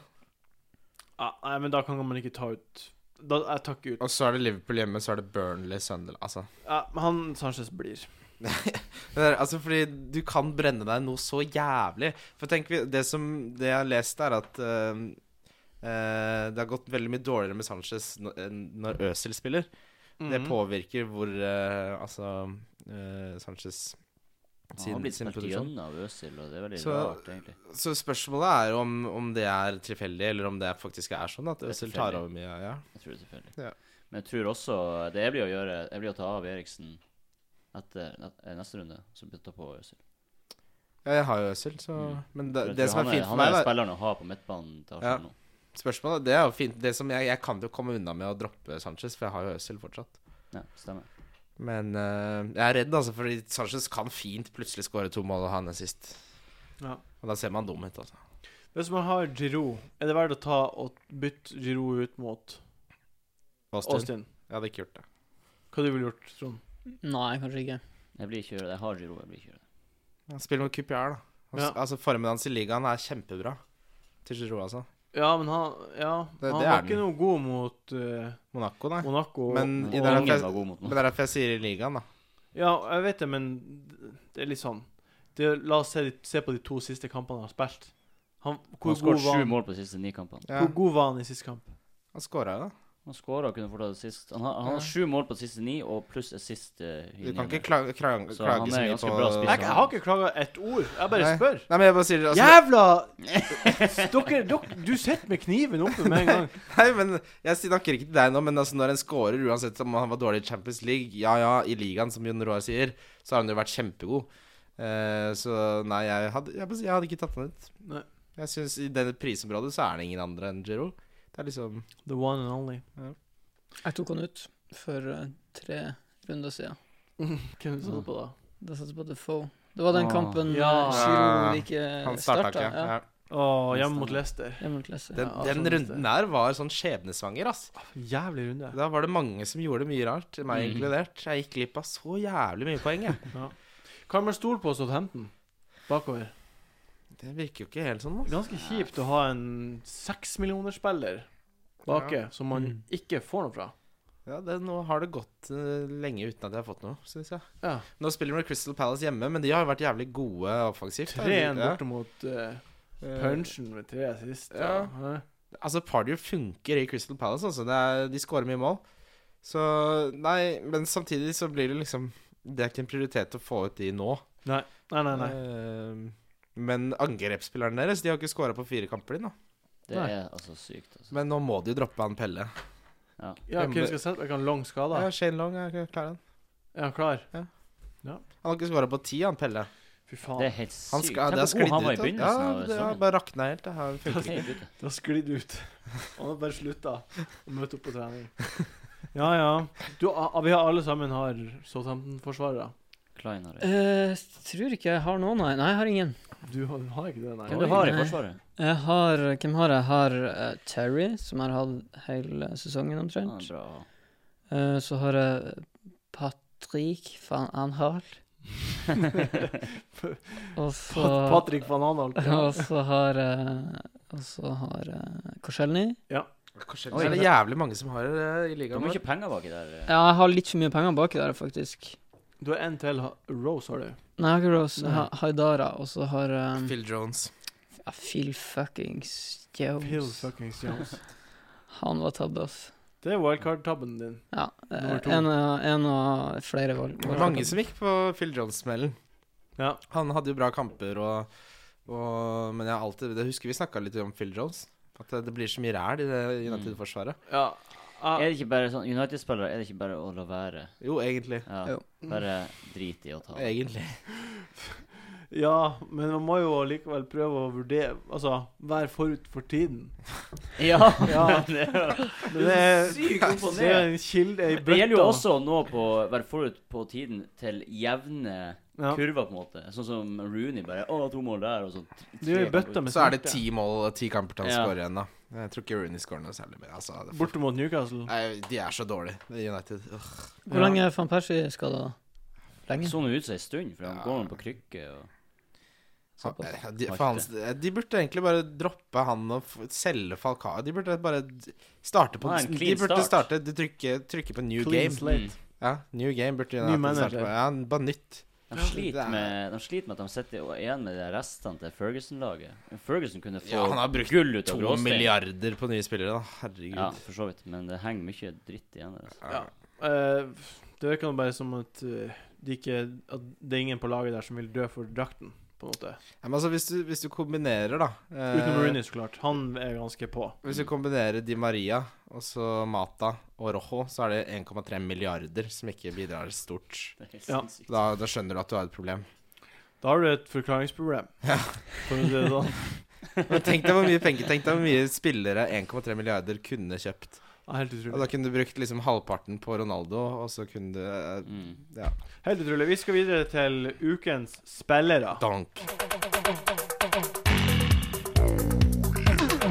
[SPEAKER 1] Ja, nei, men da kan man ikke ta ut Da Jeg tar ikke ut.
[SPEAKER 5] Og så er det Liverpool hjemme, så er det Burnley Sunderland. Altså.
[SPEAKER 1] Ja, men han Sanchez blir.
[SPEAKER 5] Det er, altså fordi du kan brenne deg noe så jævlig. For tenk, vi- det som Det jeg har lest, er at øhm, øh, det har gått veldig mye dårligere med Sanchez n- enn når Øzil spiller. Det
[SPEAKER 1] Mhm.
[SPEAKER 5] påvirker hvor øh, Altså øh, eh, Sanchez
[SPEAKER 3] Han har
[SPEAKER 5] sin,
[SPEAKER 3] blitt
[SPEAKER 5] sin
[SPEAKER 3] spilt
[SPEAKER 5] produksjon.
[SPEAKER 3] gjennom av Øzil, og det er veldig
[SPEAKER 5] Så-
[SPEAKER 3] rart, egentlig.
[SPEAKER 5] Så spørsmålet er om, om det er tilfeldig, eller om det faktisk er sånn at
[SPEAKER 3] Det er
[SPEAKER 5] Øzil tar
[SPEAKER 3] tilfeldig.
[SPEAKER 5] over mye. Ja.
[SPEAKER 3] Jeg tror det er tilfeldig.
[SPEAKER 5] Ja.
[SPEAKER 3] Men jeg tror også Det jeg blir å gjøre Jeg blir å ta av Eriksen etter ne- neste runde, så bytter jeg på Øzil.
[SPEAKER 5] Ja, jeg har jo Øzil, så
[SPEAKER 3] Mm.
[SPEAKER 5] Men det,
[SPEAKER 3] For jeg
[SPEAKER 5] det
[SPEAKER 3] tror
[SPEAKER 5] som
[SPEAKER 3] han
[SPEAKER 5] er fint for
[SPEAKER 3] Han er
[SPEAKER 5] meg, da
[SPEAKER 3] spilleren å ha på midtbanen til
[SPEAKER 5] Ja.
[SPEAKER 3] Arsenal nå.
[SPEAKER 5] Spørsmålet, det er jo fint Det som jeg, jeg kan jo komme unna med å droppe Sanchez, for jeg har jo Øzil fortsatt.
[SPEAKER 3] Ja, stemmer.
[SPEAKER 5] Men eh, jeg er redd, altså, fordi Sanchez kan fint plutselig skåre to mål og ha en assist.
[SPEAKER 1] Ja.
[SPEAKER 5] Og da ser man dum ut, altså.
[SPEAKER 1] Hvis man har Giroud, er det verdt å ta og bytte Giroud ut mot
[SPEAKER 5] Austin.
[SPEAKER 1] Austin?
[SPEAKER 5] Jeg hadde ikke gjort det.
[SPEAKER 1] Hva du ville gjort, Trond?
[SPEAKER 4] Nei, kanskje ikke.
[SPEAKER 3] Jeg blir ikke gjøre det. Jeg har Giro, jeg blir ikke gjøre det.
[SPEAKER 5] Han spiller mot Coupillard, da. Han,
[SPEAKER 1] Ja.
[SPEAKER 5] Altså Formen hans i ligaen er kjempebra. Til Giroud, altså.
[SPEAKER 1] Ja, men han Ja,
[SPEAKER 5] Det-
[SPEAKER 1] han
[SPEAKER 5] det
[SPEAKER 1] var
[SPEAKER 5] er
[SPEAKER 1] ikke
[SPEAKER 5] den.
[SPEAKER 1] noe god mot eh,
[SPEAKER 5] Monaco, nei.
[SPEAKER 1] Monaco.
[SPEAKER 5] Men
[SPEAKER 1] og,
[SPEAKER 5] Mm, i
[SPEAKER 1] og,
[SPEAKER 5] den-
[SPEAKER 3] Ingen var god mot
[SPEAKER 5] Men
[SPEAKER 3] noe.
[SPEAKER 5] det er derfor jeg sier i ligaen, da.
[SPEAKER 1] Ja, jeg vet det, men det er litt sånn det, La oss se, de- se på de to siste kampene han har spilt. Han, hvor,
[SPEAKER 3] Han
[SPEAKER 1] god
[SPEAKER 3] skåret
[SPEAKER 1] var
[SPEAKER 3] sju
[SPEAKER 1] han,
[SPEAKER 3] mål på de siste ni kampene.
[SPEAKER 5] Ja,
[SPEAKER 1] hvor god var han i siste kamp?
[SPEAKER 5] han scora jo, da.
[SPEAKER 3] Han skåra kunne fått det sist. Han har, han
[SPEAKER 5] Ja.
[SPEAKER 3] har sju mål på de siste ni, og pluss assist eh, i
[SPEAKER 5] Du kan
[SPEAKER 3] niende.
[SPEAKER 5] ikke klage, klage,
[SPEAKER 3] Så
[SPEAKER 5] klage
[SPEAKER 3] han
[SPEAKER 5] så
[SPEAKER 3] er
[SPEAKER 5] mye
[SPEAKER 3] ganske
[SPEAKER 5] på
[SPEAKER 3] bra
[SPEAKER 1] Jeg,
[SPEAKER 3] spiss.
[SPEAKER 1] jeg har ikke klaga ett ord. Jeg bare
[SPEAKER 5] Nei.
[SPEAKER 1] spør.
[SPEAKER 5] Nei, men jeg bare sier altså,
[SPEAKER 1] Jævla Dere, dere Du sitter med kniven oppe med en gang.
[SPEAKER 5] Nei, men Jeg snakker ikke til deg nå, men altså, når en scorer, uansett om han var dårlig i Champions League Ja ja, i ligaen, som Jon Roar sier, så har han jo vært kjempegod. Eh, så nei, jeg hadde, jeg, bare sier, jeg hadde ikke tatt han ut.
[SPEAKER 1] Nei.
[SPEAKER 5] Jeg synes I det prisområdet så er det ingen andre enn Giro. Det er liksom
[SPEAKER 1] The one and only.
[SPEAKER 4] Jeg tok han ut for eh, tre runder siden.
[SPEAKER 1] Hvem satte på da?
[SPEAKER 4] Da satte jeg på Defoe. Det var den
[SPEAKER 3] Åh.
[SPEAKER 4] kampen ja.
[SPEAKER 1] Ja.
[SPEAKER 4] Giroud ikke
[SPEAKER 5] Han starta
[SPEAKER 4] starta. Eh,
[SPEAKER 5] ikke.
[SPEAKER 4] Ja. altså,
[SPEAKER 5] Ja.
[SPEAKER 1] Å, hjemme mot Leicester.
[SPEAKER 4] Hjemme mot Leicester.
[SPEAKER 5] Den,
[SPEAKER 1] Ja,
[SPEAKER 5] den
[SPEAKER 1] sånn
[SPEAKER 5] runden der var sånn skjebnesvanger, ass.
[SPEAKER 1] Jævlig runde.
[SPEAKER 5] Da var det mange som gjorde mye rart, meg
[SPEAKER 3] Mm.
[SPEAKER 5] inkludert. Jeg gikk glipp av så jævlig mye poeng, jeg.
[SPEAKER 1] Kan man stole på Southampton bakover?
[SPEAKER 5] Det virker jo ikke helt sånn, da.
[SPEAKER 1] Ganske kjipt å ha en seksmillionerspiller baki som man
[SPEAKER 4] Mm.
[SPEAKER 1] ikke får noe fra.
[SPEAKER 5] Ja, det, nå har det gått eh, lenge uten at jeg har fått noe, syns jeg.
[SPEAKER 1] Ja.
[SPEAKER 5] Nå spiller de med Crystal Palace hjemme, men de har jo vært jævlig gode offensivt. da.
[SPEAKER 1] 3-1
[SPEAKER 5] Ja.
[SPEAKER 1] borte mot eh,
[SPEAKER 5] Eh,
[SPEAKER 1] Punchen med tre sist.
[SPEAKER 5] ja. Altså, Pardew funker i Crystal Palace, altså. Det er, de skårer mye mål. Så Nei, men samtidig så blir det liksom Det er ikke en prioritet å få ut de nå.
[SPEAKER 1] Nei, nei, nei.
[SPEAKER 5] Eh, Men angrepsspillerne deres De har ikke skåra på fire kamper ennå.
[SPEAKER 3] Det
[SPEAKER 1] Nei.
[SPEAKER 3] er altså sykt. Altså.
[SPEAKER 5] Men nå må de jo droppe han Pelle.
[SPEAKER 1] Ja, hvem skal sette meg? Lang skada?
[SPEAKER 5] Ja, Shane Long er ikke klar, han.
[SPEAKER 1] Er han klar?
[SPEAKER 5] Han har ikke skåra på ti, han Pelle.
[SPEAKER 1] Fy faen.
[SPEAKER 3] Det er helt
[SPEAKER 5] Han
[SPEAKER 3] sykt.
[SPEAKER 5] skal, det har
[SPEAKER 3] Tenk hvor
[SPEAKER 5] sklidd
[SPEAKER 3] god han var
[SPEAKER 5] ut.
[SPEAKER 3] i
[SPEAKER 5] da. Ja,
[SPEAKER 3] begynnelsen av
[SPEAKER 5] det har
[SPEAKER 3] sesongen.
[SPEAKER 5] bare rakna helt. Det her funker ikke.
[SPEAKER 3] Helt ute.
[SPEAKER 1] Det har sklidd ut. Han har bare slutta å møte opp på trening. Ja, ja. Du, a- vi har alle sammen har Southampton-forsvarere.
[SPEAKER 3] Klein har det.
[SPEAKER 4] Eh, tror ikke jeg har noen, nei. Nei, jeg har ingen.
[SPEAKER 1] Du har, har ikke det, nei?
[SPEAKER 3] Hvem du
[SPEAKER 4] Oi.
[SPEAKER 3] har i
[SPEAKER 4] Nei.
[SPEAKER 3] Forsvaret?
[SPEAKER 4] Jeg har, hvem har jeg? Jeg har eh, Terry, som jeg har hatt hele
[SPEAKER 3] Han
[SPEAKER 4] sesongen
[SPEAKER 3] er
[SPEAKER 4] omtrent.
[SPEAKER 3] bra.
[SPEAKER 4] Eh, så har jeg Patrick van Anhal. og så
[SPEAKER 1] Pat Patrick van Anholt.
[SPEAKER 4] Og
[SPEAKER 3] altså.
[SPEAKER 4] så har jeg Og så har jeg Korselny.
[SPEAKER 5] Oi, det er jævlig mange som har eh, i
[SPEAKER 3] Det
[SPEAKER 5] ligaen.
[SPEAKER 3] er
[SPEAKER 5] vår.
[SPEAKER 3] mye penger baki der. eh.
[SPEAKER 4] Ja, jeg har litt for mye penger baki der, faktisk.
[SPEAKER 1] Du har en til. ha- Rose har du.
[SPEAKER 4] Nei, jeg har ikke Rose. Jeg
[SPEAKER 1] Nei.
[SPEAKER 4] har Haidara, og så har jeg
[SPEAKER 5] Phil Jones.
[SPEAKER 4] ja, Phil fuckings
[SPEAKER 1] Phil
[SPEAKER 4] Jones.
[SPEAKER 1] fuckings Jones.
[SPEAKER 4] Han var tatt, ass.
[SPEAKER 1] Det er wildcard-tabben din.
[SPEAKER 4] Ja. eh,
[SPEAKER 1] Nummer to.
[SPEAKER 4] En, av- en av flere valg.
[SPEAKER 5] Det var mange som gikk på Phil Jones-smellen.
[SPEAKER 1] Ja.
[SPEAKER 5] Han hadde jo bra kamper og, og Men jeg har alltid Jeg husker vi snakka litt om Phil Jones. At det, det blir så mye ræl i det United-forsvaret.
[SPEAKER 1] Ja.
[SPEAKER 3] Er
[SPEAKER 1] Jeg,
[SPEAKER 3] det ikke bare sånn United-spillere, er det ikke bare å la være?
[SPEAKER 5] Jo, egentlig.
[SPEAKER 3] Ja,
[SPEAKER 4] Jo.
[SPEAKER 3] bare drit i å ta det.
[SPEAKER 5] Egentlig.
[SPEAKER 1] ja, men man må jo likevel prøve å vurdere Altså, være forut for tiden.
[SPEAKER 3] Ja!
[SPEAKER 1] Ja.
[SPEAKER 3] det er-
[SPEAKER 1] Det er,
[SPEAKER 3] Sykt opp og ned.
[SPEAKER 1] det er en kilde, ei
[SPEAKER 3] det gjelder jo
[SPEAKER 1] bøtte.
[SPEAKER 3] også å nå på være forut på tiden til jevne
[SPEAKER 1] Ja.
[SPEAKER 3] kurver, på en måte. Sånn som Rooney bare Å, to mål der, og sånn.
[SPEAKER 1] Det er jo ei bøtte med
[SPEAKER 5] Så er det
[SPEAKER 1] smerte.
[SPEAKER 5] ti mål ti kamper til han
[SPEAKER 3] Ja.
[SPEAKER 5] scorer igjen, da. Jeg tror ikke Rooney scorer noe særlig mer. Altså, det
[SPEAKER 1] Borte mot Newcastle.
[SPEAKER 5] Nei, de er så dårlige, United. Ugh.
[SPEAKER 4] Hvor lenge er van Persie skada? Lenge?
[SPEAKER 3] Sånn ut som ei stund, for han
[SPEAKER 5] Ja.
[SPEAKER 3] går nå på krykke og
[SPEAKER 4] Såpass.
[SPEAKER 5] Ja, De, for hans, de burde egentlig bare droppe han og f- selge Falcao. De burde bare d- starte på
[SPEAKER 3] Ha en
[SPEAKER 5] De
[SPEAKER 3] clean
[SPEAKER 5] burde
[SPEAKER 3] start.
[SPEAKER 5] starte de trykke, trykke på new
[SPEAKER 1] Clean
[SPEAKER 5] game.
[SPEAKER 1] slate.
[SPEAKER 5] Ja, new game burde
[SPEAKER 1] Ny
[SPEAKER 5] United starte
[SPEAKER 1] manager.
[SPEAKER 5] på. Ja, bare nytt.
[SPEAKER 3] De
[SPEAKER 5] Ja, det
[SPEAKER 3] sliter,
[SPEAKER 5] er-
[SPEAKER 3] med, de sliter med at de sitter og- igjen med de restene til Ferguson-laget. Ferguson kunne få
[SPEAKER 5] Ja, han har brukt
[SPEAKER 3] gull ut av
[SPEAKER 5] To
[SPEAKER 3] gråstein.
[SPEAKER 5] milliarder på nye spillere, da. Herregud.
[SPEAKER 3] Ja, for så vidt. Men det henger mye dritt igjen der. Altså.
[SPEAKER 1] Ja. Eh, det virker nå bare som at eh, de ikke, at det er ingen på laget der som vil dø for drakten, på en måte.
[SPEAKER 5] Ja, men altså, hvis du, hvis du kombinerer, da eh,
[SPEAKER 1] Utenom Rooney, så klart. Han er ganske på.
[SPEAKER 5] Hvis du kombinerer Di Maria, og så Mata og Rojo, så er det 1,3 milliarder som ikke bidrar stort.
[SPEAKER 3] Det er helt
[SPEAKER 1] Ja.
[SPEAKER 3] sinnssykt.
[SPEAKER 5] Da, da skjønner du at du har et problem.
[SPEAKER 1] Da har du et forklaringsproblem. For å si det sånn.
[SPEAKER 5] Men tenk deg hvor mye penger, tenk deg hvor mye spillere 1,3 milliarder kunne kjøpt.
[SPEAKER 1] Ja, Helt
[SPEAKER 5] Og
[SPEAKER 1] utrolig.
[SPEAKER 5] da kunne du brukt liksom halvparten på Ronaldo, og så kunne du eh,
[SPEAKER 3] Mm.
[SPEAKER 5] Ja.
[SPEAKER 1] Helt utrolig. Vi skal videre til ukens spillere.
[SPEAKER 5] Donk.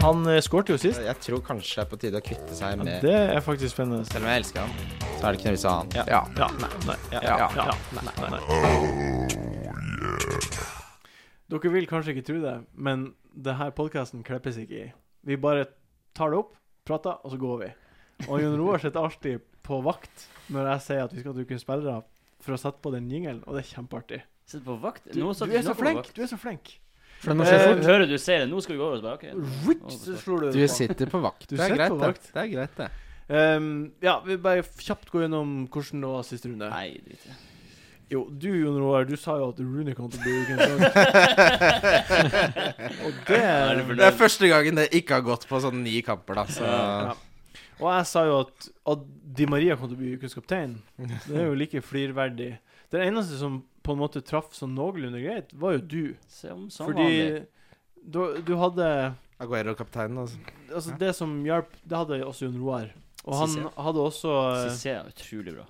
[SPEAKER 1] Han eh, skårte jo sist.
[SPEAKER 5] Jeg tror kanskje det er på tide å kvitte seg
[SPEAKER 1] Ja,
[SPEAKER 5] med
[SPEAKER 1] det er faktisk spennende.
[SPEAKER 5] Selv om jeg elsker han, så er det ikke noe vits i å ha han.
[SPEAKER 1] Ja.
[SPEAKER 5] Ja.
[SPEAKER 1] Ja, nei, nei, ja,
[SPEAKER 5] Ja.
[SPEAKER 1] ja, ja, nei, nei. Dere vil kanskje ikke tro det, men det her podkasten klippes ikke i. Vi bare tar det opp, prater, og så går vi. Og Jon Roar sitter alltid på vakt når jeg sier at vi skal bruke spillere, for å sette på den jingelen, og det er kjempeartig.
[SPEAKER 3] Sitter på vakt?
[SPEAKER 1] Du,
[SPEAKER 3] Nå
[SPEAKER 1] du
[SPEAKER 3] satt
[SPEAKER 1] er
[SPEAKER 3] ikke
[SPEAKER 1] så
[SPEAKER 3] på
[SPEAKER 1] flink!
[SPEAKER 3] vakt.
[SPEAKER 1] Du er så flink.
[SPEAKER 4] For det må skje
[SPEAKER 1] Eh,
[SPEAKER 4] fort.
[SPEAKER 3] Hører du sier det, nå skal vi gå over og bare OK.
[SPEAKER 1] Ritt, så slår du
[SPEAKER 5] Du
[SPEAKER 1] det på.
[SPEAKER 5] sitter på vakt.
[SPEAKER 1] Du
[SPEAKER 5] det er
[SPEAKER 1] sitter
[SPEAKER 5] greit,
[SPEAKER 1] på vakt.
[SPEAKER 5] det. Det er greit, det.
[SPEAKER 1] Ehm, ja, vi bare kjapt gå gjennom hvordan det var sist runde.
[SPEAKER 3] Nei, drit i det.
[SPEAKER 1] Jo, du Jon Roar, du sa jo at Rooney kom til å bli ukens lag. Og
[SPEAKER 3] Da er
[SPEAKER 1] det
[SPEAKER 3] du fornøyd.
[SPEAKER 5] Det er første gangen det ikke har gått på sånn ni kamper, da. Så
[SPEAKER 1] Ja. Og jeg sa jo at, at Di Maria kom til å bli ukens kaptein. Det er jo like flirverdig. Den eneste som på en måte traff sånn noenlunde greit, var jo du.
[SPEAKER 3] Som, som vanlig.
[SPEAKER 1] Fordi du, du hadde
[SPEAKER 5] Aguero-kapteinen, altså.
[SPEAKER 1] Altså, det som hjalp, det hadde også Jon Roar. Og han
[SPEAKER 5] Cissé.
[SPEAKER 1] hadde også eh,
[SPEAKER 3] Cissé er utrolig bra.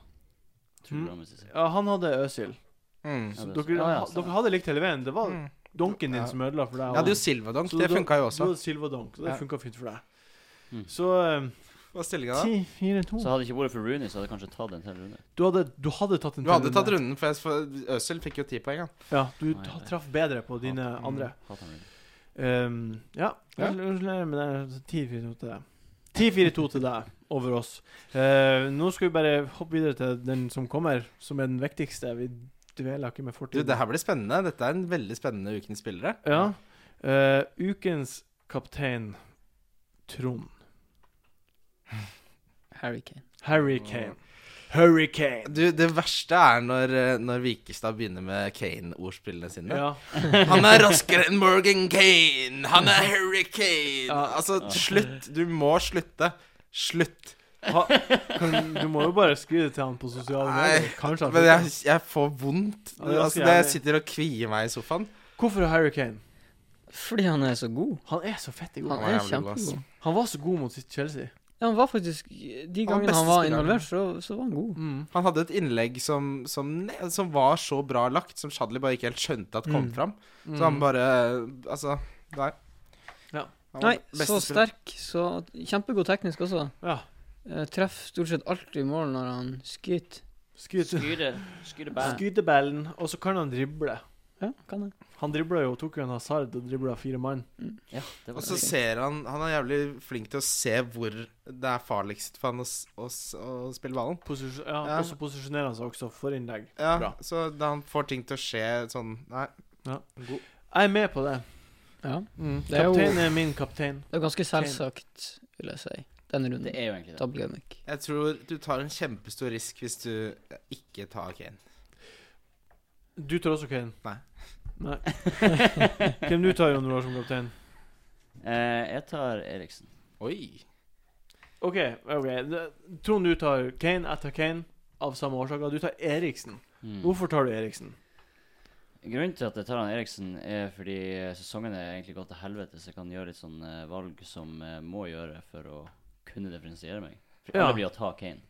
[SPEAKER 3] Utrolig
[SPEAKER 1] Mm.
[SPEAKER 3] bra med Cissé.
[SPEAKER 1] Ja, han hadde Øsil.
[SPEAKER 3] Ja,
[SPEAKER 5] Mm.
[SPEAKER 3] det-
[SPEAKER 1] Dere,
[SPEAKER 3] ja, ja,
[SPEAKER 1] ha-
[SPEAKER 3] stemmer.
[SPEAKER 1] dere hadde likt hele veien. Det var
[SPEAKER 5] Mm.
[SPEAKER 1] donken din
[SPEAKER 5] Ja.
[SPEAKER 1] som ødela for deg.
[SPEAKER 5] Jeg hadde jo
[SPEAKER 1] og-
[SPEAKER 5] Silvadonk,
[SPEAKER 1] Så
[SPEAKER 5] det
[SPEAKER 1] du-
[SPEAKER 5] funka jo
[SPEAKER 1] Du
[SPEAKER 5] også.
[SPEAKER 1] hadde Silva Donk, så det
[SPEAKER 5] Ja.
[SPEAKER 1] funka fint for deg.
[SPEAKER 3] Mm.
[SPEAKER 1] Så eh,
[SPEAKER 5] Hva er stillinga da?
[SPEAKER 1] 10, 4, 2
[SPEAKER 3] Så hadde det ikke vært for Rooney, så hadde jeg kanskje tatt en til runde.
[SPEAKER 1] Du hadde, du hadde tatt en
[SPEAKER 5] Du hadde
[SPEAKER 1] til
[SPEAKER 5] tatt
[SPEAKER 1] runde.
[SPEAKER 5] runden, for jeg- for Øzil fikk jo ti poeng, han.
[SPEAKER 1] Ja, du
[SPEAKER 3] Nei,
[SPEAKER 1] ta-
[SPEAKER 3] det-
[SPEAKER 1] traff bedre på dine andre.
[SPEAKER 3] Hater han Rooney.
[SPEAKER 1] Um, ja.
[SPEAKER 5] Ja.
[SPEAKER 1] Gratulerer med det. 10-4-2 til deg. 10-4-2 til deg over oss. Eh, nå skal vi bare hoppe videre til den som kommer, som er den viktigste. Vi dveler ikke med
[SPEAKER 5] Du,
[SPEAKER 1] fortiden.
[SPEAKER 5] det her blir spennende. Dette er en veldig spennende Ukens spillere.
[SPEAKER 1] Ja. Eh, ukens kaptein Trond.
[SPEAKER 4] Harry Kane.
[SPEAKER 1] Harry Kane. Hurricane.
[SPEAKER 5] Du, det verste er når, eh, når Vikestad begynner med Kane-ordspillene sine.
[SPEAKER 1] Ja.
[SPEAKER 5] Han er raskere enn Morgan Kane! Han er Harry Kane!
[SPEAKER 1] Ja.
[SPEAKER 5] Altså, slutt! Du må slutte. Slutt.
[SPEAKER 1] Ha, kan, du må jo bare skrive det til han på sosiale
[SPEAKER 5] Nei,
[SPEAKER 1] medier. Kanskje han
[SPEAKER 5] Men
[SPEAKER 1] slutter.
[SPEAKER 5] jeg, jeg får vondt.
[SPEAKER 1] Ja, det er
[SPEAKER 5] Altså,
[SPEAKER 1] ganske
[SPEAKER 5] det, jeg
[SPEAKER 1] jævlig.
[SPEAKER 5] sitter og kvier meg i sofaen.
[SPEAKER 1] Hvorfor Harry Kane?
[SPEAKER 4] Fordi han er så god.
[SPEAKER 1] Han er så fett i
[SPEAKER 5] Han
[SPEAKER 1] god.
[SPEAKER 4] Han
[SPEAKER 5] var
[SPEAKER 4] er
[SPEAKER 5] jævlig god, ass.
[SPEAKER 4] kjempegod.
[SPEAKER 1] Han var så god mot sitt Chelsea.
[SPEAKER 4] Ja, han var faktisk De
[SPEAKER 5] var
[SPEAKER 4] gangene han
[SPEAKER 5] beste
[SPEAKER 4] var
[SPEAKER 5] spilleren.
[SPEAKER 4] involvert, så, så var han god.
[SPEAKER 1] Mm.
[SPEAKER 5] Han hadde et innlegg som, som, ne- som var så bra lagt, som Shadley bare ikke helt skjønte at kom
[SPEAKER 1] Mm.
[SPEAKER 5] fram.
[SPEAKER 1] Mm.
[SPEAKER 5] Så han bare Altså, nei.
[SPEAKER 1] Ja.
[SPEAKER 5] Han var
[SPEAKER 4] Nei,
[SPEAKER 5] beste
[SPEAKER 4] så
[SPEAKER 5] spiller.
[SPEAKER 4] sterk. Så kjempegod teknisk også.
[SPEAKER 1] Ja.
[SPEAKER 4] Eh, Treffer stort sett alltid i mål når han skyter.
[SPEAKER 1] Skudd.
[SPEAKER 3] Skyte, skyte bad.
[SPEAKER 1] Skyte ballen, og så kan han drible.
[SPEAKER 4] Ja, kan jeg.
[SPEAKER 1] Han dribla jo, tok jo en hasard og dribla fire mann.
[SPEAKER 3] Ja, det
[SPEAKER 5] Og
[SPEAKER 3] var
[SPEAKER 1] Altså-
[SPEAKER 5] så
[SPEAKER 3] det.
[SPEAKER 5] ser han Han er jævlig flink til å se hvor det er farligst for han å, s- å, s- å spille ballen.
[SPEAKER 1] Posis ja,
[SPEAKER 5] Ja.
[SPEAKER 1] Og så posisjonerer han seg også for innlegg.
[SPEAKER 5] Ja,
[SPEAKER 1] Bra.
[SPEAKER 5] Så da han får ting til å skje sånn Nei.
[SPEAKER 1] Ja.
[SPEAKER 5] God.
[SPEAKER 1] Jeg er med på det.
[SPEAKER 4] Ja.
[SPEAKER 5] Mm.
[SPEAKER 4] Det er jo-
[SPEAKER 1] Kaptein er min kaptein.
[SPEAKER 4] Det er ganske selvsagt, vil jeg si, denne runden.
[SPEAKER 3] Det er jo egentlig det.
[SPEAKER 4] Double gimmick.
[SPEAKER 5] Jeg tror du tar en kjempestor risk hvis du ikke tar Kane.
[SPEAKER 1] Du tar også Kane.
[SPEAKER 5] Nei.
[SPEAKER 1] Nei. Hvem du tar, Jon Roar, som kaptein?
[SPEAKER 3] Eh, jeg tar Eriksen.
[SPEAKER 5] Oi.
[SPEAKER 1] OK, ok Det- Trond, du tar Kane. Jeg tar Kane av samme årsaker. Du tar Eriksen.
[SPEAKER 3] Mm.
[SPEAKER 1] Hvorfor tar du Eriksen?
[SPEAKER 3] Grunnen til at jeg tar han Eriksen, er fordi sesongen er egentlig gått til helvete, så jeg kan gjøre litt sånn eh, valg som jeg må gjøre for å kunne differensiere meg. For
[SPEAKER 1] Ja.
[SPEAKER 3] alle blir å ta Kane.